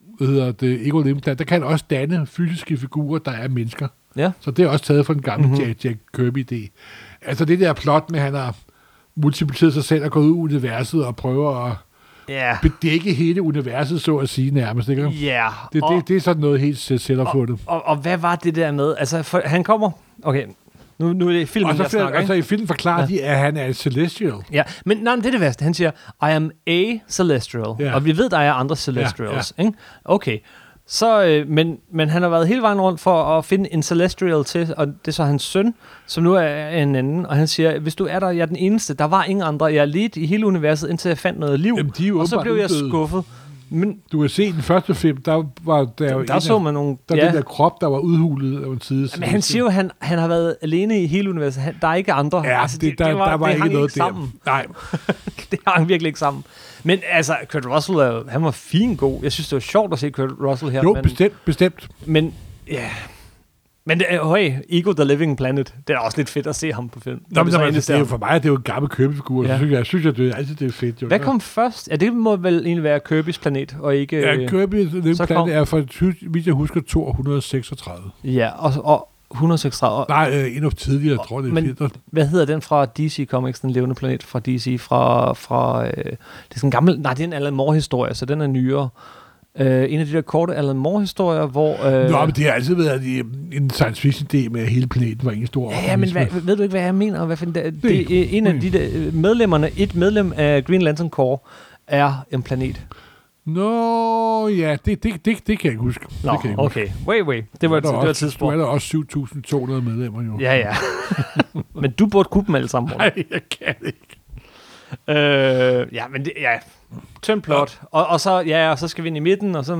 S2: hvad hedder det, Ego The Living Planet. Der kan også danne fysiske figurer, der er mennesker.
S1: Ja,
S2: Så det er også taget fra den
S1: Mhm.
S2: gamle mm-hmm. Jack, Jack Kirby-idé. Altså det der plot med, at han har multipliceret sig selv og gået ud i universet og prøver at
S1: ja,
S2: bedække hele universet, så at sige nærmest. Ikke? Det,
S1: ja.
S2: det,
S1: og-
S2: det, det er sådan noget helt selv- selvopfundet.
S1: Og, og hvad var det der med? Altså, for, han kommer... Okay, nu, nu er det filmen,
S2: Og så
S1: jeg snakker,
S2: finder,
S1: ikke?
S2: altså, i filmen forklarer
S1: Ja.
S2: ja. de, at han er en celestial.
S1: Ja, men nej, men det er det værste. Han siger, I am a celestial.
S2: Ja.
S1: Og vi ved, der er andre celestials. Ja, ja. Ikke? Okay. Så, øh, men, men han har været hele vejen rundt for at finde en celestial til, og det er så hans søn, som nu er en anden. Og han siger, hvis du er der, jeg er den eneste. Der var ingen andre. Jeg er lidt i hele universet, indtil jeg fandt noget liv.
S2: Jamen, de er jo
S1: og så
S2: åbenbart
S1: blev jeg
S2: uddøde.
S1: skuffet. Men
S2: Du kan se i den første film, der var der, jo en
S1: der
S2: af-
S1: så man nogle...
S2: der ja. den der krop, der var udhulet af en side.
S1: Men han siger jo, at han, han har været alene i hele universet. Han, der er ikke andre.
S2: Ja, altså, det, der, det var, der var
S1: det
S2: ikke
S1: hang
S2: noget
S1: ikke sammen.
S2: der. Nej,
S1: det hang virkelig ikke sammen. Men altså, Kurt Russell, er, jo- han var fin god. Jeg synes, det var sjovt at se Kurt Russell her.
S2: jo,
S1: men,
S2: bestemt, bestemt.
S1: men, ja. Men det er, hey, Ego the Living Planet, det er også lidt fedt at se ham på film.
S2: Nå, men,
S1: så
S2: der,
S1: endelig
S2: det
S1: ser
S2: er jo
S1: ham.
S2: for mig, det er jo en gammel købefigur.
S1: Ja.
S2: Ja. Jeg synes, jeg, det er altid det er fedt. Jo.
S1: Hvad kom først? Ja, det må vel egentlig være Kirby's planet, og ikke...
S2: Ja,
S1: øh,
S2: Kirby den
S1: så
S2: så
S1: kom-
S2: planet er fra, ty- hvis jeg husker, 236.
S1: ja og, og 136. Og,
S2: Nej, øh, endnu tidligere, jeg tror det er
S1: Men-
S2: men, fedt.
S1: hvad hedder den fra DC Comics, den levende planet fra DC? Fra, fra, øh, det er sådan en gammel... Nej, det er en Alan Moore-historie, så den er nyere. Øh, en af de der korte Alan Moore-historier, hvor... Øh,
S2: Nå, men det har altid været en- en science fiction idé med, at hele planeten var en stor
S1: Ja, ja, men
S2: organisme.
S1: hvad, ved du ikke, hvad jeg mener? Hvad find, det, det,
S2: ikke
S1: er en af de
S2: problemet.
S1: der øh, medlemmerne, et medlem af Green Lantern Corps, er en planet.
S2: Nå, ja, det, det, det, det kan jeg ikke huske.
S1: Nå,
S2: det kan jeg ikke
S1: okay. Wait, wait. Det var,
S2: huske.
S1: et- det var et tidspunkt.
S2: Nu er der også 7.200 medlemmer, jo.
S1: Ja, ja. men du burde kunne dem alle sammen. Morten.
S2: Nej, jeg kan ikke.
S1: Øh, ja, men det, ja. Tyndt plot. Og, og, så, ja, og så skal vi ind i midten, og så...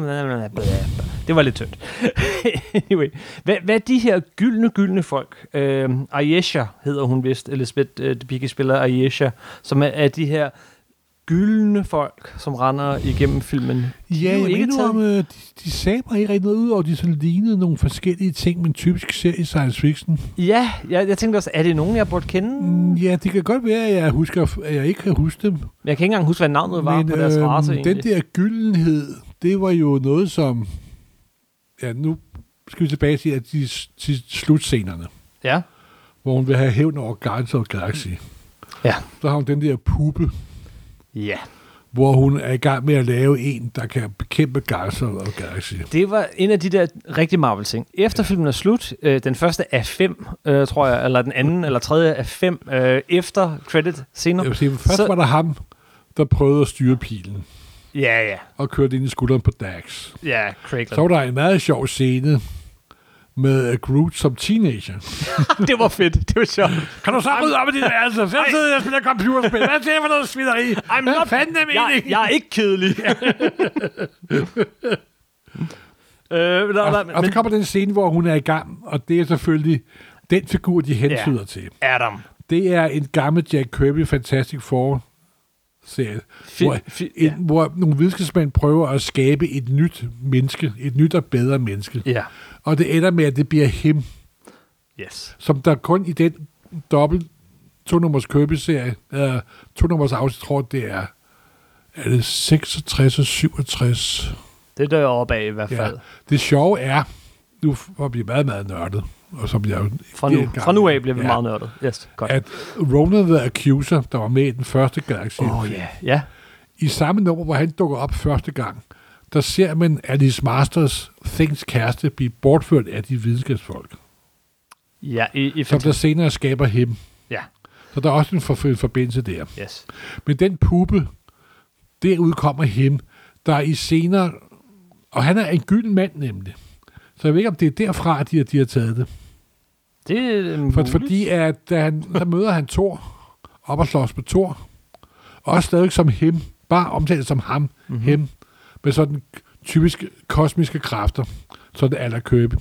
S1: Det var lidt tyndt. anyway. Hvad, hvad er de her gyldne, gyldne folk? Øh, Ayesha hedder hun vist, Elisabeth øh, Debicki spiller Ayesha, som er, er de her gyldne folk, som render igennem filmen.
S2: Ja,
S1: jo
S2: jeg
S1: ikke
S2: mener,
S1: taget-
S2: om, øh, de, de sagde mig ikke rigtig noget ud, og de sådan lignede nogle forskellige ting, men typisk ser i science fiction.
S1: Ja, jeg, jeg tænkte også, er det nogen, jeg burde kende?
S2: Mm, Ja, det kan godt være, at jeg, husker, at jeg ikke kan huske dem,
S1: Jeg kan ikke engang huske, hvad navnet var på deres race,
S2: øhm, den
S1: egentlig.
S2: der gyldenhed, det var jo noget som... Ja, nu skal vi tilbage til, at de, til slutscenerne.
S1: Ja,
S2: hvor hun vil have hævn over Guardians of the Galaxy.
S1: Ja.
S2: Så har hun den der puppe,
S1: Ja.
S2: hvor hun er i gang med at lave en, der kan bekæmpe Guardians of the Galaxy.
S1: Det var en af de der rigtig Marvel-ting. Efter filmen er slut, øh, den første af fem, øh, tror jeg, eller den anden eller tredje af fem, øh, efter credit scener.
S2: Jeg vil sige, først
S1: Så-
S2: så... var der ham, der prøvede at styre pilen
S1: Ja, ja.
S2: og kørte ind i skulderen på Dax.
S1: Ja, Craig.
S2: Så var der en meget sjov scene med øh, Groot som teenager.
S1: Ah, det var fedt. Det var sjovt.
S2: Kan du så rydde op i dit værelse? Så sidder jeg og spiller computerspil. Hvad er det for noget svineri? I'm Hvad fanden er
S1: Jeg, jeg er ikke kedelig. øh, nej, nej,
S2: Og, og så
S1: men
S2: kommer den scene, hvor hun er i gang, og det er selvfølgelig den figur, de hensyder
S1: Ja.
S2: ja. til.
S1: Adam.
S2: Det er en gammel Jack Kirby Fantastic Four serie, hvor,
S1: fi-
S2: en,
S1: ja.
S2: ja. hvor nogle videnskabsmænd prøver at skabe et nyt menneske, et nyt og bedre menneske.
S1: Ja.
S2: Og det ender med, at det bliver him,
S1: Yes.
S2: som der kun i den dobbelt to-nummers Kirby-serie, øh, to-nummers afsnit, tror jeg, det er, er det 66 og 67?
S1: Det dør over bag i hvert
S2: Ja.
S1: fald. Ja.
S2: Det sjove er, nu får vi meget, meget nørdet, og som jeg jo
S1: Fra,
S2: ikke
S1: nu,
S2: engang-
S1: fra nu af bliver vi
S2: Ja.
S1: meget nørdet. Yes, godt.
S2: at Ronan the Accuser, der var med i den første Galaxy,
S1: Åh, oh, ja. Ja.
S2: i samme nummer, hvor han dukker op første gang, der ser man Alice Masters Things kæreste blive bortført af de videnskabsfolk,
S1: Ja, i, i
S2: som der senere skaber ham.
S1: Ja,
S2: Så der er også en for- forbindelse der.
S1: yes.
S2: Men den puppe, derud kommer him, der er i senere... Og han er en gylden mand nemlig. Så jeg ved ikke, om det er derfra, at de, har- de har taget det.
S1: Det er øh,
S2: For,
S1: muligt.
S2: fordi at da han, der møder han Thor, op og slås med Thor, også stadig som him, bare omtalt som ham,
S1: Mhm.
S2: mm-hmm. him, med sådan typiske kosmiske kræfter, sådan aller købe.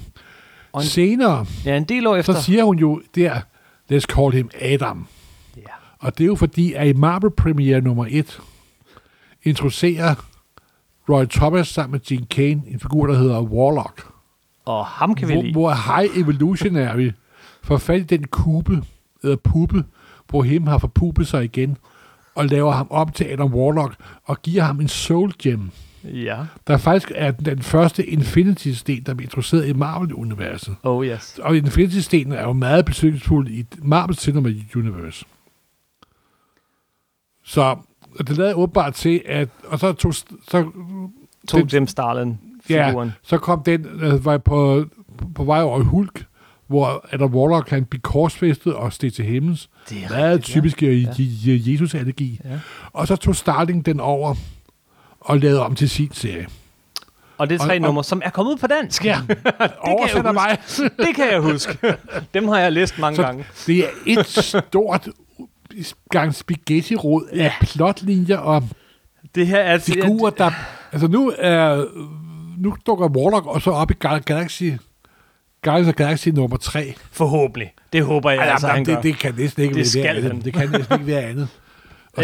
S1: Og en-
S2: Senere,
S1: Ja, en del år efter.
S2: så siger hun jo der, let's call him Adam.
S1: ja.
S2: Og det er jo fordi, at i Marvel Premiere nummer 1 introducerer Roy Thomas sammen med Gene Kane en figur, der hedder Warlock.
S1: Og ham kan vi
S2: Hvor,
S1: lide.
S2: hvor High Evolutionary får fat i den kube, eller puppe, hvor him har forpupet sig igen, og laver ham om til Adam Warlock, og giver ham en Soul Gem,
S1: Ja.
S2: der faktisk er den, den første Infinity-sten, der bliver introduceret i Marvel-universet.
S1: Oh, yes.
S2: Og Infinity-stenen er jo meget betydningsfuld i Marvel Cinematic Universe. Så og det lader åbenbart til, at... Og så, tog, så
S1: To
S2: Den-
S1: Jim Starlin-figuren.
S2: så kom den øh, var på, på vej over i Hulk, hvor Adam Warlock kan blive korsfæstet og steg til himmels.
S1: Det er
S2: Meget
S1: rigtigt,
S2: typisk øh, ja. Jesus-allergi.
S1: Ja.
S2: Og så tog Starling den over og lavede om til sin serie.
S1: Og det er tre
S2: Og- og-
S1: numre, som er kommet ud på dansk.
S2: Ja, oversætter
S1: huske.
S2: mig.
S1: Det kan jeg huske. Dem har jeg læst mange så, gange.
S2: Så det er et stort gang spaghetti-rod af plotlinjer og
S1: Det her er...
S2: figurer, der... Altså nu er... Nu dukker Warlock og så op i Gal- Galaxy... Guardians of Galaxy nummer 3.
S1: Forhåbentlig. Det håber jeg
S2: Ja,
S1: altså,
S2: altså,
S1: han
S2: jamen,
S1: gør.
S2: det, det kan næsten ikke
S1: Det
S2: det være
S1: skal
S2: andet.
S1: han.
S2: Det kan næsten ikke være andet. Og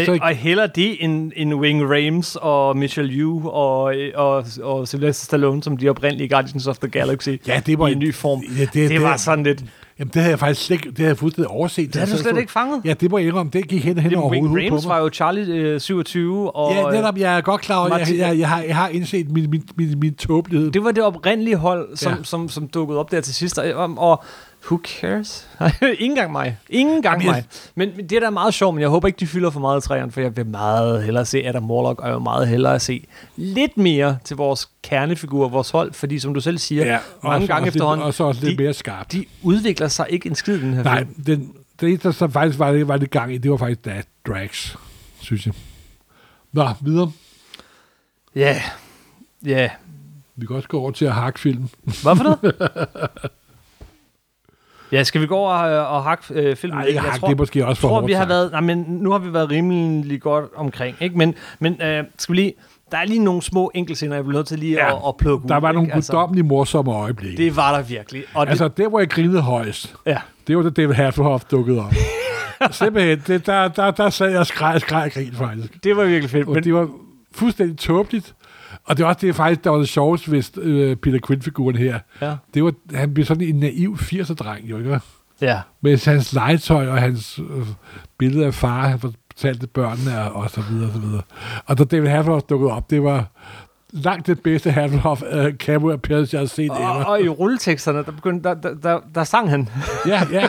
S1: Og,
S2: så,
S1: så, og heller det end, end Wing Rames og Michelle Yeoh og, og, og Sylvester Stallone, som de oprindelige Guardians of the Galaxy
S2: Ja, det var
S1: i en
S2: en-
S1: ny form. det,
S2: ja, det-
S1: det, det
S2: det-
S1: var sådan lidt...
S2: jamen, det havde jeg faktisk slet, ikke- det havde jeg fuldstændig overset.
S1: Det har
S2: Så
S1: du
S2: jeg
S1: slet
S2: stod-
S1: ikke fanget.
S2: Ja, det må jeg indrømme. Det gik hen, hen over
S1: Wing
S2: hovedet på
S1: Rames
S2: mig.
S1: var jo Charlie øh, 27, og øh,
S2: Ja, netop, jeg er godt klar over, jeg,
S1: Martin-
S2: jeg, jeg, jeg, har, jeg har indset min, min, min, min tåbelighed.
S1: det var det oprindelige hold, som, ja.
S2: Ja.
S1: som, som dukkede op der til sidst. Og, og- og who cares? Ingen gang mig. Ingen gang
S2: Jamen,
S1: mig.
S2: jeg-
S1: Men, men det er da meget sjovt, men jeg håber ikke, de fylder for meget i træerne, for jeg vil meget hellere se Adam Warlock, og jeg vil meget hellere se lidt mere til vores kernefigur, vores hold, fordi som du selv siger, ja, mange
S2: også-
S1: gange
S2: også lidt-
S1: efterhånden,
S2: Og så også lidt
S1: de,
S2: mere skarpt.
S1: de udvikler sig ikke en skid, den her
S2: Nej,
S1: film.
S2: den, det eneste, der faktisk var, det, var lidt gang i, det var faktisk da Drax, synes jeg. Nå, videre.
S1: Ja. Ja.
S2: Vi kan også gå over til at hakke film.
S1: Hvad for noget? Ja, skal vi gå over øh, og hakke øh, filmen?
S2: Nej,
S1: lidt?
S2: ikke hak, det er måske også for
S1: tror,
S2: hårdt
S1: vi har
S2: sagt.
S1: været, nej, men nu har vi været rimelig godt omkring, ikke? Men, men øh, skal vi lige, der er lige nogle små enkeltscener, jeg bliver nødt til lige ja,
S2: Ja,
S1: at, at plukke
S2: Der
S1: ud,
S2: var nogle
S1: ikke? Altså,
S2: guddommelige morsomme øjeblikke.
S1: det var der virkelig. Og
S2: altså, det, hvor jeg grinede højst,
S1: det, ja.
S2: Det var da David Hasselhoff dukkede op. Simpelthen, det, der, der, der sad jeg og skreg og skreg og grin faktisk.
S1: Det var virkelig fedt.
S2: Og
S1: Men,
S2: det var fuldstændig tåbeligt. Og det var også det, faktisk, der var det sjoveste ved øh, Peter Quinn-figuren her.
S1: ja.
S2: Det var, han blev sådan en naiv 80'er-dreng, jo ikke?
S1: ja.
S2: Med hans legetøj og hans øh, billede af far, han fortalte børnene og, og så videre og så videre. Og da David Hasselhoff dukkede op, det var langt det bedste Hasselhoff uh, cameo appearance, jeg har set oh.
S1: Og,
S2: ever.
S1: og i rulleteksterne, der, begyndte, der, der, der, der sang han.
S2: Ja, ja.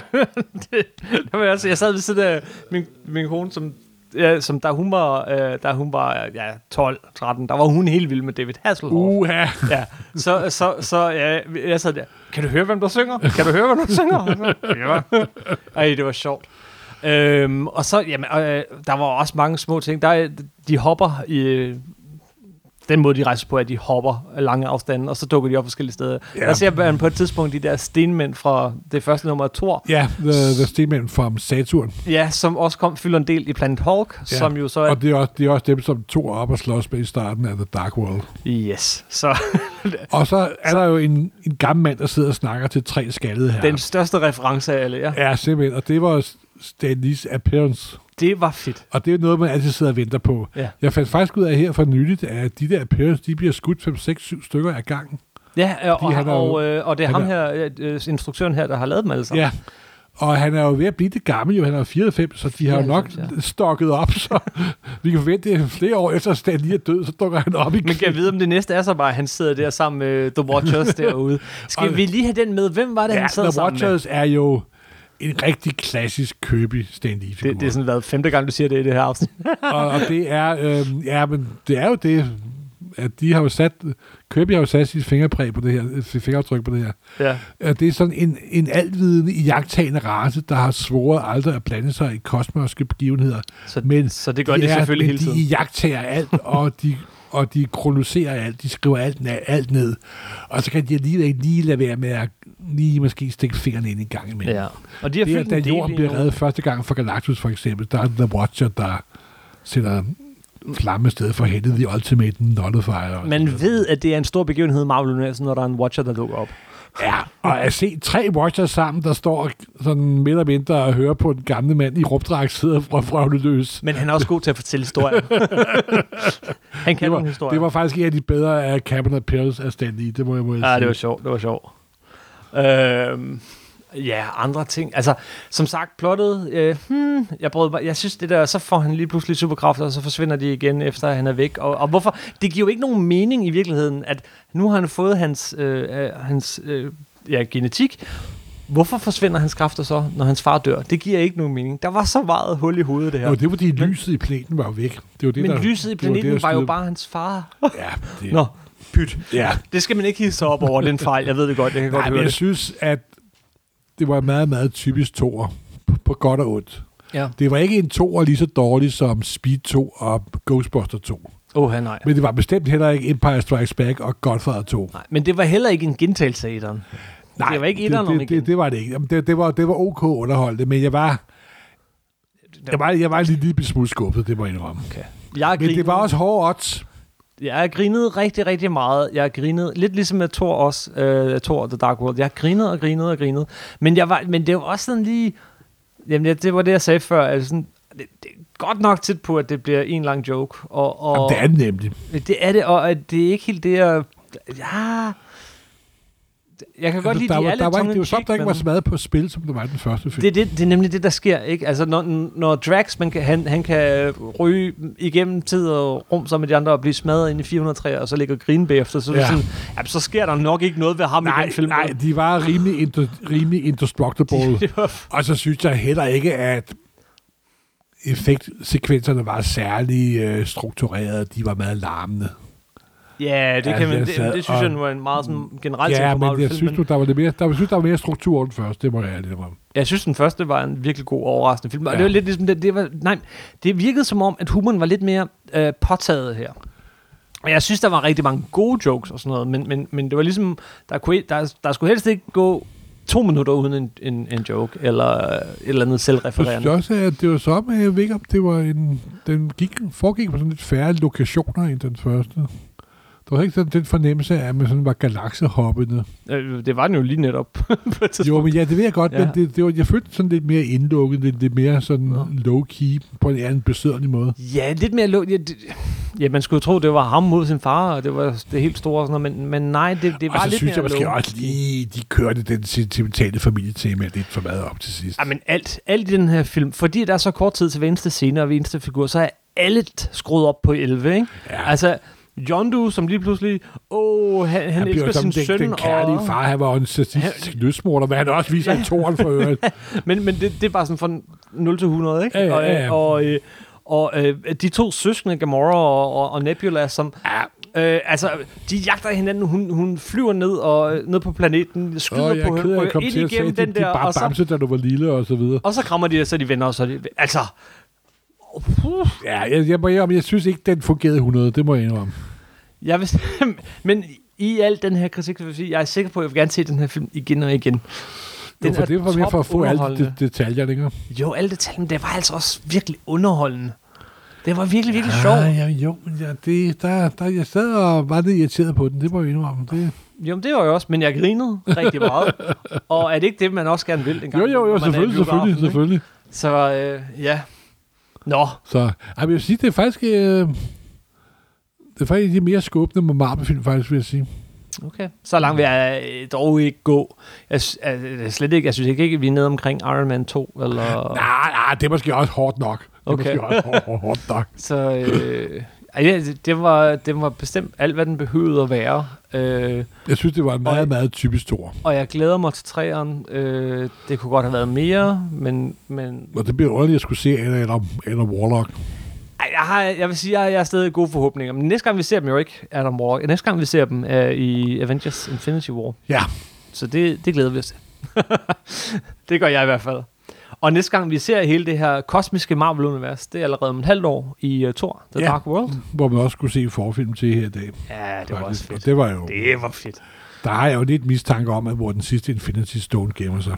S1: der var jeg, også, jeg sad ved siden af min, min kone, som, ja, som da hun var, øh, da hun var ja, 12-13, der var hun helt vild med David Hasselhoff.
S2: Uha.
S1: Ja, så, så, så ja, jeg sad der, kan du høre, hvem der synger? Kan du høre, hvem der synger? ja. Ej, det var sjovt. Øhm, og så, jamen, øh, der var også mange små ting. Der, er- de hopper i... øh, Den måde, de rejser på, er, at de hopper lange afstande, og så dukker de op forskellige steder.
S2: Ja.
S1: Ja. Der ser man på et tidspunkt de der stenmænd fra det første nummer af Thor,
S2: Ja, The, the Steamman from Saturn.
S1: Ja, som også kom, fylder en del i Planet Hulk, ja. som jo så er...
S2: Og det er, også, det er også dem, som tog op og slås med i starten af The Dark World.
S1: Yes. Så
S2: Og så er der jo en, en gammel mand, der sidder og snakker til tre skaldede her.
S1: den største reference af alle, ja.
S2: Ja, simpelthen. Og det var Stanley's appearance.
S1: Det var fedt.
S2: Og det er noget, man altid sidder og venter på.
S1: Ja.
S2: Jeg fandt faktisk ud af her for nyligt, at de der appearance, de bliver skudt 5, 6, 7 stykker af gangen.
S1: Ja, og,
S2: han er
S1: og,
S2: jo-
S1: og, øh, og det er
S2: han
S1: ham her, øh, instruktøren her, der har lavet dem alle sammen.
S2: Ja. Og han er jo ved at blive det gammel, jo. han er jo 94, så de har jo nok
S1: 94,
S2: stokket op, så vi kan forvente at flere år efter, at Stan Lee er død, så dukker han op igen.
S1: Men kan jeg vide, om det næste er så bare, at han sidder der sammen med øh, The Watchers derude.
S2: Og-
S1: Skal vi lige have den med? Hvem var det,
S2: ja,
S1: han sad
S2: The
S1: sammen med?
S2: Watchers er jo en rigtig klassisk købig Stan lee
S1: Det, det er sådan været femte gang, du siger det i det her afsnit.
S2: og, og det er, øh, ja, men det er jo det, at de har jo sat, Kirby har jo sat sit fingerpræg på det her, sit fingeraftryk på det her.
S1: ja.
S2: At det er sådan en, en altvidende, jagttagende race, der har svoret aldrig at blande sig i kosmiske begivenheder.
S1: Så,
S2: Men
S1: så det gør de, de selvfølgelig
S2: men
S1: hele tiden.
S2: de jagttager alt, og de, og de kronoserer alt, de skriver alt, ned- alt ned. Og så kan de alligevel ikke lige lade være med at lige måske stikke fingrene ind en gang imellem.
S1: Ja. Og de har
S2: Det er,
S1: fyldt
S2: da
S1: en del
S2: jorden
S1: i
S2: bliver
S1: nogle-
S2: reddet første gang fra Galactus for eksempel, der er The Watcher, der sætter flamme sted for helvede i Ultimate Nullifier. og sådan
S1: Man
S2: noget.
S1: ved, at det er en stor begivenhed i Marvel Universet, når der er en Watcher, der dukker op.
S2: Ja, og at se tre Watchers sammen, der står sådan midt og mindre og hører på en gammel mand i rumdrag sidder fra frøvle løs.
S1: Men han er også god til at fortælle historier. han kan
S2: Det var,
S1: nogle historier.
S2: det var faktisk en af de bedre af Cameron Appearance af Stan Lee, det må jeg må jeg
S1: Ja, det
S2: sige.
S1: var sjovt, det var sjovt. Øhm, ja, andre ting. Altså, som sagt, plottet, øh, hmm, jeg, brød, mig- jeg synes det der, så får han lige pludselig superkræfter, og så forsvinder de igen, efter han er væk. Og, og hvorfor? Det giver jo ikke nogen mening i virkeligheden, at nu har han fået hans, øh, øh, hans øh, ja, genetik, Hvorfor forsvinder hans kræfter så, når hans far dør? Det giver ikke nogen mening. Der var så meget hul i hovedet, det her.
S2: Jo, det var fordi lyset i planeten var jo væk. Det var det,
S1: Men
S2: der,
S1: lyset i
S2: det det,
S1: planeten var,
S2: der
S1: var jo
S2: styrede-
S1: bare hans far.
S2: Ja, det,
S1: Nå, pyt.
S2: ja.
S1: Det skal man ikke hisse sig op over, den fejl. Jeg ved det godt, jeg kan godt
S2: Nej, men
S1: høre
S2: jeg
S1: det.
S2: synes, at det var en meget, meget typisk toer. På, på godt og ondt.
S1: Ja.
S2: Det var ikke en toer lige så dårlig som Speed 2 og Ghostbuster 2.
S1: Åh, nej.
S2: Men det var bestemt heller ikke Empire Strikes Back og Godfather 2.
S1: Nej, men det var heller ikke en gentagelse af etteren.
S2: Nej,
S1: det var ikke
S2: det,
S1: etteren om
S2: det,
S1: igen.
S2: det, det var det ikke. Jamen, det, det, var, det var ok underholdende, men jeg var, jeg var, jeg var en lille smule skuffet, det må jeg indrømme.
S1: Okay. Jeg har
S2: Men det
S1: grinet,
S2: var også hårde odds.
S1: jeg har grinet rigtig, rigtig meget. Jeg har grinet, lidt ligesom med Thor også, uh, Thor The Dark World. Jeg har grinet og grinet og grinet. Men, jeg var, men det var også sådan lige... Jamen, det, det var det, jeg sagde før. Altså sådan, det, det er godt nok tæt på, at det bliver en lang joke. Og, og,
S2: Jamen, det er det nemlig.
S1: det. det er det, og at det er ikke helt det, jeg... Ja... Jeg kan godt lide,
S2: Altså,
S1: de
S2: der,
S1: er
S2: var,
S1: lidt
S2: der var ikke, det var
S1: tongue-in-cheek,
S2: som, der ikke var
S1: men-
S2: så meget på spil, som der var i den første film.
S1: Det, er det, det er nemlig det, der sker, ikke? Altså, når, når Drax, man kan, han, han kan ryge igennem tid og rum sammen med de andre og blive smadret ind i 400 træer, og så ligger Green bagefter, så,
S2: Ja.
S1: ja. sådan, jamen, så sker der nok ikke noget ved ham i
S2: nej,
S1: den film.
S2: nej, de var rimelig, inter, rimelig indestructible.
S1: Det var
S2: Og så synes jeg heller ikke, at effektsekvenserne var særlig øh, strukturerede. De var meget larmende.
S1: ja, det,
S2: Ja,
S1: ja, kan man,
S2: jeg
S1: det,
S2: sad
S1: det, synes jeg
S2: og-
S1: nu er en meget sådan, generel ting
S2: Ja,
S1: på
S2: men jeg
S1: Marvel-film,
S2: synes,
S1: men
S2: du, der var lidt mere, der, jeg synes, der var mere struktur end først. Det må jeg ærligt om.
S1: jeg synes, den første var en virkelig god og overraskende film, og
S2: Ja.
S1: det var lidt ligesom, det, det var, nej, det virkede som om, at humoren var lidt mere øh, påtaget her. Og jeg synes, der var rigtig mange gode jokes og sådan noget, men, men, men det var ligesom, der, kunne, der, der skulle helst ikke gå to minutter uden en, en, en joke, eller øh, et eller andet
S2: Jeg synes
S1: selvrefererende.
S2: også, at det var som, jeg ved ikke, om det var en, den gik, foregik på sådan lidt færre lokationer end den første. Der var ikke sådan den fornemmelse af, at man sådan var galaksehoppende.
S1: Øh, Det var den jo lige netop på et tidspunkt.
S2: Jo, men ja, det ved jeg godt, ja. men
S1: Ja.
S2: det, det var, jeg følte sådan lidt mere indlukket, lidt, lidt mere sådan
S1: Nå.
S2: low-key på en anden besødderlig måde.
S1: Ja, lidt mere lå... Ja, det, ja, man skulle jo tro, det var ham mod sin far, og det var det helt store og sådan noget, men, men nej, det, det var
S2: og så
S1: lidt
S2: synes
S1: mere
S2: jeg måske
S1: low.
S2: også lige, de kørte den sentimentale familietema lidt for meget op til sidst.
S1: Ja, men alt, alt i den her film, fordi der er så kort tid til hver eneste scene og hver eneste figur, så er alt skruet op på 11, ikke?
S2: Ja.
S1: Altså, Yondu, som lige pludselig, åh, oh, han, han
S2: han bliver
S1: elsker
S2: jo
S1: sin
S2: som
S1: søn.
S2: den, den kærlige
S1: og,
S2: far. Han var jo en statistisk løsmorder, men han også viser ja. i toren for øvrigt.
S1: Men, men det, det er bare sådan fra 0 til 100, ikke?
S2: Ja, ja, ja, ja.
S1: Og, og, øh, og øh, de to søskende, Gamora og, og, og Nebula, som... Øh, altså, de jagter hinanden. Hun, hun flyver ned og øh, ned på planeten, skyder
S2: Og jeg
S1: på
S2: er ked af, at
S1: hende,
S2: jeg kom
S1: ind
S2: til at sige,
S1: igennem
S2: at de,
S1: den
S2: de
S1: der,
S2: bare
S1: og så,
S2: bamse, da du var lille og så videre.
S1: og så krammer de, og så er de venner, og så er de... Altså... Oh, puh.
S2: Ja, jeg, jeg, må indrømme, jeg synes ikke, den fungerede 100. Det må jeg indrømme.
S1: Jeg vil, men i al den her kritik, så vil jeg sige, jeg er sikker på, at jeg vil gerne se den her film igen og igen.
S2: Den for det var mere for at få alle de
S1: topunderholdende.
S2: detaljer længere.
S1: Jo, alle detaljer, men det var altså også virkelig underholdende. Det var virkelig, virkelig sjovt.
S2: ja, jo, men ja, det, der, der, jeg sad og var lidt irriteret på den. Det må jeg indrømme. Det.
S1: Jo, men det var jeg også, men jeg grinede rigtig meget. og er det ikke det, man også gerne vil dengang?
S2: Jo, jo,
S1: når man
S2: jo,
S1: er i
S2: selvfølgelig,
S1: biografen,
S2: selvfølgelig,
S1: ikke?
S2: selvfølgelig.
S1: Så øh, ja. Nå,
S2: Så ej, men jeg vil sige, det er faktisk... Øh, det er faktisk de mere skubbende med Marvel-film, faktisk, vil jeg sige.
S1: okay. Så langt vil jeg øh, dog ikke gå. Jeg, sy- øh, slet ikke, jeg synes ikke, at vi er nede omkring Iron Man 2. Eller,
S2: Nej, nej, det er måske også hårdt nok. Det er
S1: Okay.
S2: måske også hårdt, hårdt nok.
S1: Så øh, ej, ja, det- det, var, det var bestemt alt, hvad den behøvede at være. Øh,
S2: Jeg synes, det var en
S1: Og-
S2: meget, meget typisk tor.
S1: og jeg glæder mig til træeren. Øh, det kunne godt have været mere, men... men
S2: Og det bliver underligt at skulle se Anna eller, eller Warlock.
S1: ej, jeg, har, jeg vil sige, at jeg, jeg har stadig gode forhåbninger. Men næste gang, vi ser dem jo ikke, Adam Warlock. Næste gang, vi ser dem er i Avengers Infinity War.
S2: Ja,
S1: Så det, det glæder vi os til. det gør jeg i hvert fald. Og næste gang, vi ser hele det her kosmiske Marvel-univers, det er allerede om et halvt år i uh, Thor, The
S2: Ja.
S1: Dark World.
S2: hvor man også skulle se forfilm til her i dag.
S1: Ja, Mm. det var
S2: faktisk.
S1: også
S2: Og
S1: fedt.
S2: Det var jo,
S1: Det var fedt.
S2: der har jeg jo lidt mistanke om, at hvor den sidste Infinity Stone gemmer sig.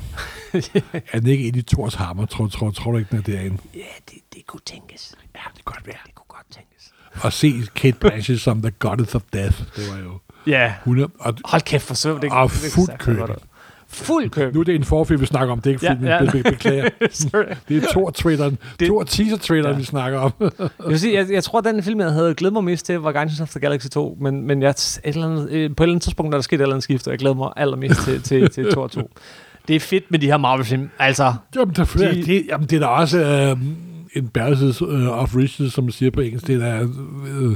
S2: er den ikke inde i Thors hammer? Tror, tror, tror du ikke, den er derinde?
S1: Ja, det, det kunne tænkes.
S2: Ja, det kan godt være.
S1: Det kunne godt tænkes.
S2: Og se Kate Blanchett som The Goddess of Death. Det var jo...
S1: Ja.
S2: Hun er, og,
S1: Hold kæft, for søvn. Det,
S2: Og
S1: det- det-
S2: fuld
S1: det-
S2: køb.
S1: det- Fuld køb.
S2: nu er det en forfilm, vi snakker om. Det er ikke
S1: Ja,
S2: filmen,
S1: ja.
S2: ja, ja. beklager.
S1: Sorry.
S2: Det er Thor-traileren.
S1: Det-
S2: Thor-teaser-traileren,
S1: Ja.
S2: ja. vi snakker om.
S1: jeg, vil sige, jeg, jeg tror, den film, jeg havde glædet mig mest til, var Guardians of the Galaxy 2, men, men jeg, et eller andet, øh, på et eller andet tidspunkt er der sket et eller andet skift, og jeg glæder mig allermest til, til, til Thor 2. Det er fedt med de her Marvel-film. Altså,
S2: Jamen, der,
S1: De-
S2: de, det, jamen, det er da også øh, en barrels øh, of riches, som man siger på engelsk. Det er øh,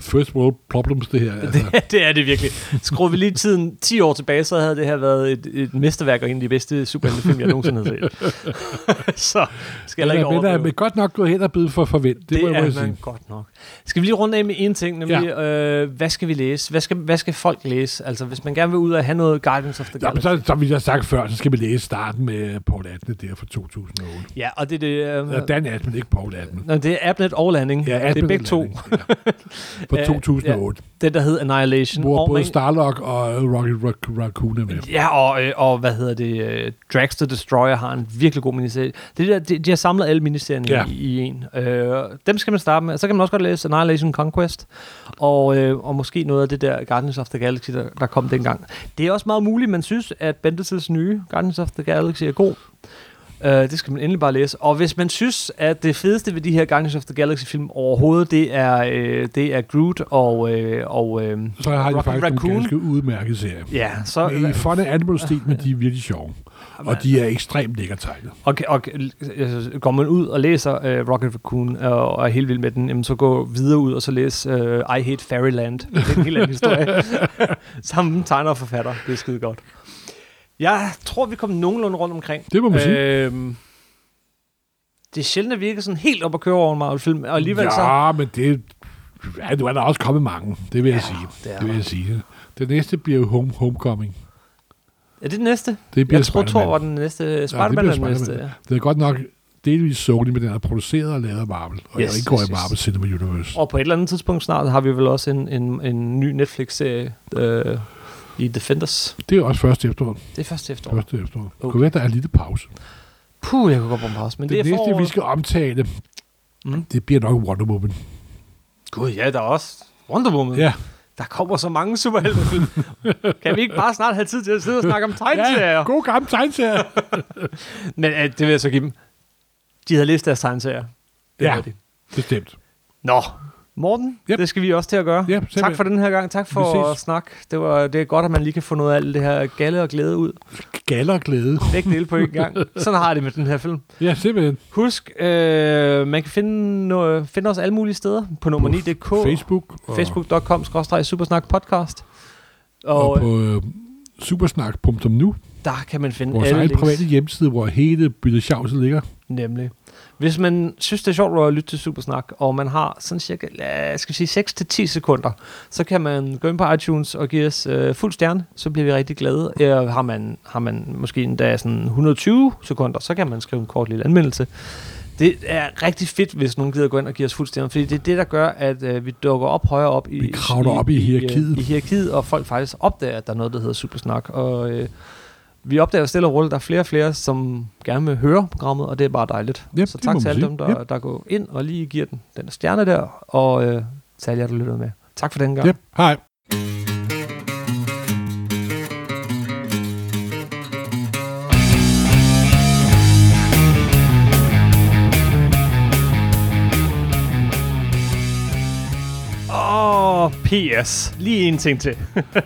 S2: first world problems, det her. Altså. Det.
S1: det er det virkelig. Skruer vi lige tiden 10 år tilbage, så havde det her været et, et mesterværk og en af de bedste superheltefilm, jeg nogensinde har set. så skal jeg heller ikke
S2: Men der
S1: overdrive.
S2: er godt nok gået hen og blevet for forventet. Det, det må jeg
S1: er
S2: må sige.
S1: godt nok. Skal vi lige runde af med en ting, nemlig ja. øh, hvad skal vi læse? Hvad skal, hvad skal folk læse? Altså, hvis man gerne vil ud og have noget Guardians of the
S2: Jamen,
S1: Galaxy.
S2: så, som vi har sagt før, så skal vi læse starten med Paul Atne der fra 2008.
S1: Ja, og det er det... Øh,
S2: Ja. Dan Atman, ikke Paul Atman.
S1: Nå, det er Abnet og Landing.
S2: Ja,
S1: det er
S2: Atman
S1: begge to.
S2: Landing, Ja. Fra
S1: Øh,
S2: 2008,
S1: Den, der hed Annihilation.
S2: hvor
S1: og
S2: både
S1: man-
S2: Starlock og øh, Rocket Rac- Raccoon er med.
S1: Ja, og, øh, og hvad hedder det? Øh, Drax the Destroyer har en virkelig god miniserie. Det der, de, de har samlet alle miniserierne ja.
S2: Ja.
S1: i, i en. Øh, dem skal man starte med. Så kan man også godt læse Annihilation Conquest, og, øh, og måske noget af det der Guardians of the Galaxy, der, der kom dengang. Det er også meget muligt, man synes, at Bendis' nye Guardians of the Galaxy er god. Øh, det skal man endelig bare læse. Og hvis man synes, at det fedeste ved de her Guardians of the Galaxy-film overhovedet, det er, øh, det er Groot og... Øh, og øh,
S2: Så har de
S1: Rocket
S2: faktisk
S1: Raccoon.
S2: en ganske udmærket serie.
S1: ja, så...
S2: I funny animal-stil, men de er virkelig sjove. Og de er ekstremt lækkert tegnet.
S1: Og, og altså, går man ud og læser øh, Rocket Raccoon øh, og er helt vild med den, jamen, så gå videre ud og så læs øh, I Hate Fairyland. Det er en helt anden historie. Sammen tegner og forfatter. Det er skide godt. Jeg tror, vi kom nogenlunde rundt omkring.
S2: Det må man sige.
S1: Øhm, det er sjældent, at vi ikke er sådan helt op og køre over en Marvel-film, og alligevel
S2: ja,
S1: så...
S2: men det... Ja, nu er der også kommet mange, det vil
S1: Ja,
S2: jeg sige.
S1: det er
S2: Det vil
S1: der.
S2: jeg sige. Det næste bliver jo home, Homecoming.
S1: Er det den næste?
S2: Det bliver
S1: Jeg tror, Thor
S2: Spider-Man.
S1: var den næste.
S2: Ja, det
S1: Spider-Man
S2: bliver
S1: er den næste,
S2: Spider-Man.
S1: ja.
S2: Det er godt nok delvis Sony, men den er produceret og lavet af Marvel. Og
S1: Yes,
S2: yes, jeg indgår
S1: yes, yes.
S2: i Marvel Cinema Universe.
S1: Og på et eller andet tidspunkt snart har vi vel også en, en, en ny Netflix-serie øh, i Defenders.
S2: Det er også første efterår.
S1: Det er først efter.
S2: Første efterår. Okay. Det
S1: Okay.
S2: kunne være, der er en lille pause.
S1: Puh, jeg kunne godt bruge en pause, men
S2: Det,
S1: det,
S2: det
S1: er
S2: næste,
S1: foråret.
S2: vi skal omtale,
S1: Mm.
S2: mm. det bliver nok Wonder Woman.
S1: Gud, ja, der er også Wonder Woman.
S2: Ja,
S1: Der kommer så mange superheltefilm. kan vi ikke bare snart have tid til at sidde og snakke om tegneserier?
S2: ja god gammel tegnserier.
S1: Men øh, det vil jeg så give dem. De havde læst deres tegneserier. Det
S2: Ja.
S1: havde de.
S2: Bestemt.
S1: Nå, Morten,
S2: Yep.
S1: yep. det skal vi også til at gøre.
S2: Ja, simpelthen.
S1: tak for den her gang. Tak for
S2: ses.
S1: snak. Det, var, det er godt, at man lige kan få noget af alt det her galle og glæde ud.
S2: Gallerglæde.
S1: Begge dele på én gang. Sådan har jeg det med den her film.
S2: Ja, simpelthen.
S1: Husk, øh, man kan finde, øh, finde os alle mulige steder på nummer 9.dk,
S2: Facebook. Og,
S1: facebook.com supersnak podcast.
S2: Og,
S1: Og,
S2: og på øh, supersnak.nu.
S1: der kan man finde
S2: Vores
S1: alle
S2: egen
S1: links.
S2: private hjemmeside, hvor hele byttet sjavset ligger.
S1: Nemlig. Hvis man synes, det er sjovt at lytte til Supersnak, og man har sådan cirka, lad- skal vi sige, 6-10 sekunder, så kan man gå ind på iTunes og give os øh, fuld stjerne, så bliver vi rigtig glade. Eller har man, har man måske endda sådan 120 sekunder, så kan man skrive en kort lille anmeldelse. Det er rigtig fedt, hvis nogen gider gå ind og give os fuld stjerne, fordi det er det, der gør, at øh, vi dukker op højere op i,
S2: Vi kravler op i hierarkiet.
S1: I, øh, i hierarkiet, og folk faktisk opdager, at der er noget, der hedder Supersnak. Og øh, vi opdager stille og roligt, at der er flere og flere, som gerne vil høre programmet, og det er bare dejligt.
S2: Ja,
S1: så
S2: det må
S1: tak til
S2: man
S1: alle
S2: sige.
S1: dem, der, der går ind og lige giver den, den der stjerne der, og øh, til alle jer, der lytter med. Tak for den
S2: Ja.
S1: gang.
S2: Yep. Hej.
S1: Åh, oh, PS. Lige en ting til.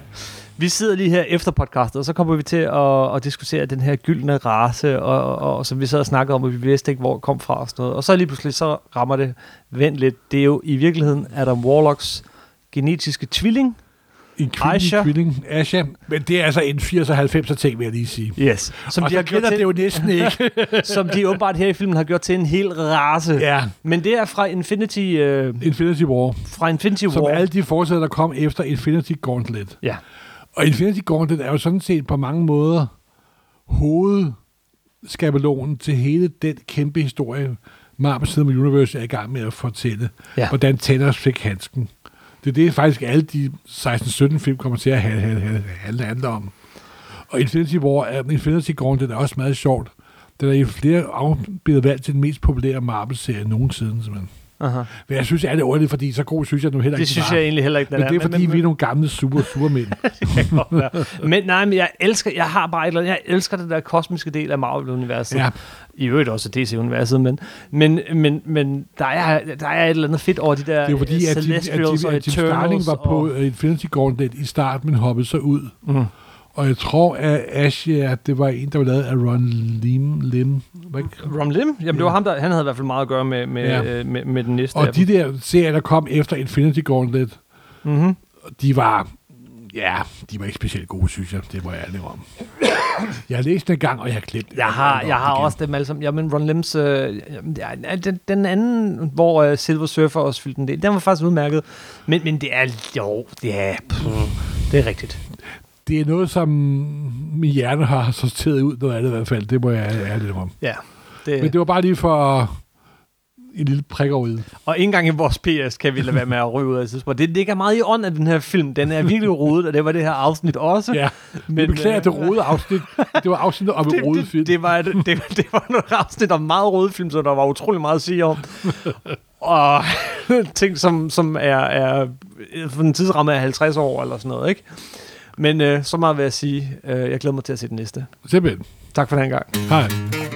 S1: vi sidder lige her efter podcastet, og så kommer vi til at, at diskutere den her gyldne race, og, og, og som vi sad og snakkede om, og vi vidste ikke, hvor det kom fra og sådan noget. Og så lige pludselig, så rammer det vent lidt. Det er jo i virkeligheden Adam Warlocks genetiske tvilling.
S2: En kvindelig
S1: Aisha.
S2: kvilling. Asha. Men det er altså en 80'er og 90'er ting, vil jeg lige sige.
S1: Yes. Som,
S2: og
S1: de
S2: så
S1: har gjort
S2: gælder det
S1: til,
S2: jo næsten ikke.
S1: som de åbenbart her i filmen har gjort til en hel race.
S2: ja.
S1: Men det er fra Infinity, øh,
S2: Infinity War.
S1: fra Infinity
S2: Som
S1: War.
S2: alle de forsætter, der kom efter Infinity Gauntlet.
S1: Ja.
S2: Og Infinity Gauntlet er jo sådan set på mange måder hovedskabelonen til hele den kæmpe historie, Marvel Cinema Universe er i gang med at fortælle.
S1: Ja.
S2: Hvordan Thanos fik handsken. Det er det, faktisk alle de 16-17 film kommer til at handle, handle, handle, handle om. Og Infinity War, er- Infinity Gauntlet er også meget sjovt. Den er i flere afsnit blevet valgt til den mest populære Marvel-serie nogensinde. Simpelthen.
S1: Aha.
S2: Men jeg synes, det er det ordentligt, fordi så god synes jeg nu heller
S1: Det
S2: ikke
S1: synes
S2: var.
S1: jeg egentlig heller ikke, den
S2: Men det er, fordi
S1: men,
S2: vi er nogle gamle super supermænd.
S1: Men nej, men jeg elsker, jeg har bare et eller andet, jeg elsker den der kosmiske del af Marvel-universet.
S2: Ja.
S1: I øvrigt også DC-universet, men, men, men, men der, er, der er et eller andet fedt over de der øh,
S2: Det er fordi, at Jim, at Jim,
S1: Celestials og
S2: at Jim Starling
S1: Eternals.
S2: var på
S1: og,
S2: øh, Infinity Gauntlet i starten, men hoppede så ud.
S1: mm.
S2: Og jeg tror, at Asher, det var en, der var lavet af Ron Lim. Lim. Hvad-
S1: Rom Lim, jamen det var ham, der, han havde i hvert fald meget at gøre med, med,
S2: Ja.
S1: øh, med, med den næste af
S2: Og de
S1: dem.
S2: der serier, der kom efter Infinity Gauntlet,
S1: Mm-hmm.
S2: de var... Ja, de var ikke specielt gode, synes jeg. Det må jeg ærlig om. Jeg har læst den en gang, og jeg har glemt
S1: Jeg har, jeg har også dem alle sammen. Jamen, Ron Lems... Øh, ja, den, den anden, hvor øh, Silver Surfer også fyldte en del, den var faktisk udmærket. Men, men det er... Jo, det er... Pff, det er rigtigt.
S2: Det er noget, som min hjerne har sorteret ud, noget andet i hvert fald. Det må jeg ærligt om.
S1: Ja. Det,
S2: Men det var bare lige for en lille prik over i.
S1: Og ikke engang i vores PS kan vi lade være med at ryge ud af tidspunkt. Det ligger meget i ånden af den her film. Den er virkelig rodet, og det var det her afsnit også.
S2: Ja, men, vi
S1: Men,
S2: beklager
S1: øh,
S2: det rode afsnit. Det var afsnittet om en
S1: Det,
S2: rodet film.
S1: det, det, var, det, det, det var noget afsnit om meget røde film, så der var utrolig meget at sige om. Og ting, som, som er, er øh, for en tidsramme af 50 år eller sådan noget, ikke? Men øh, så meget vil jeg sige, øh, jeg glæder mig til at se den næste.
S2: Simpelthen.
S1: Tak for den gang.
S2: Hej.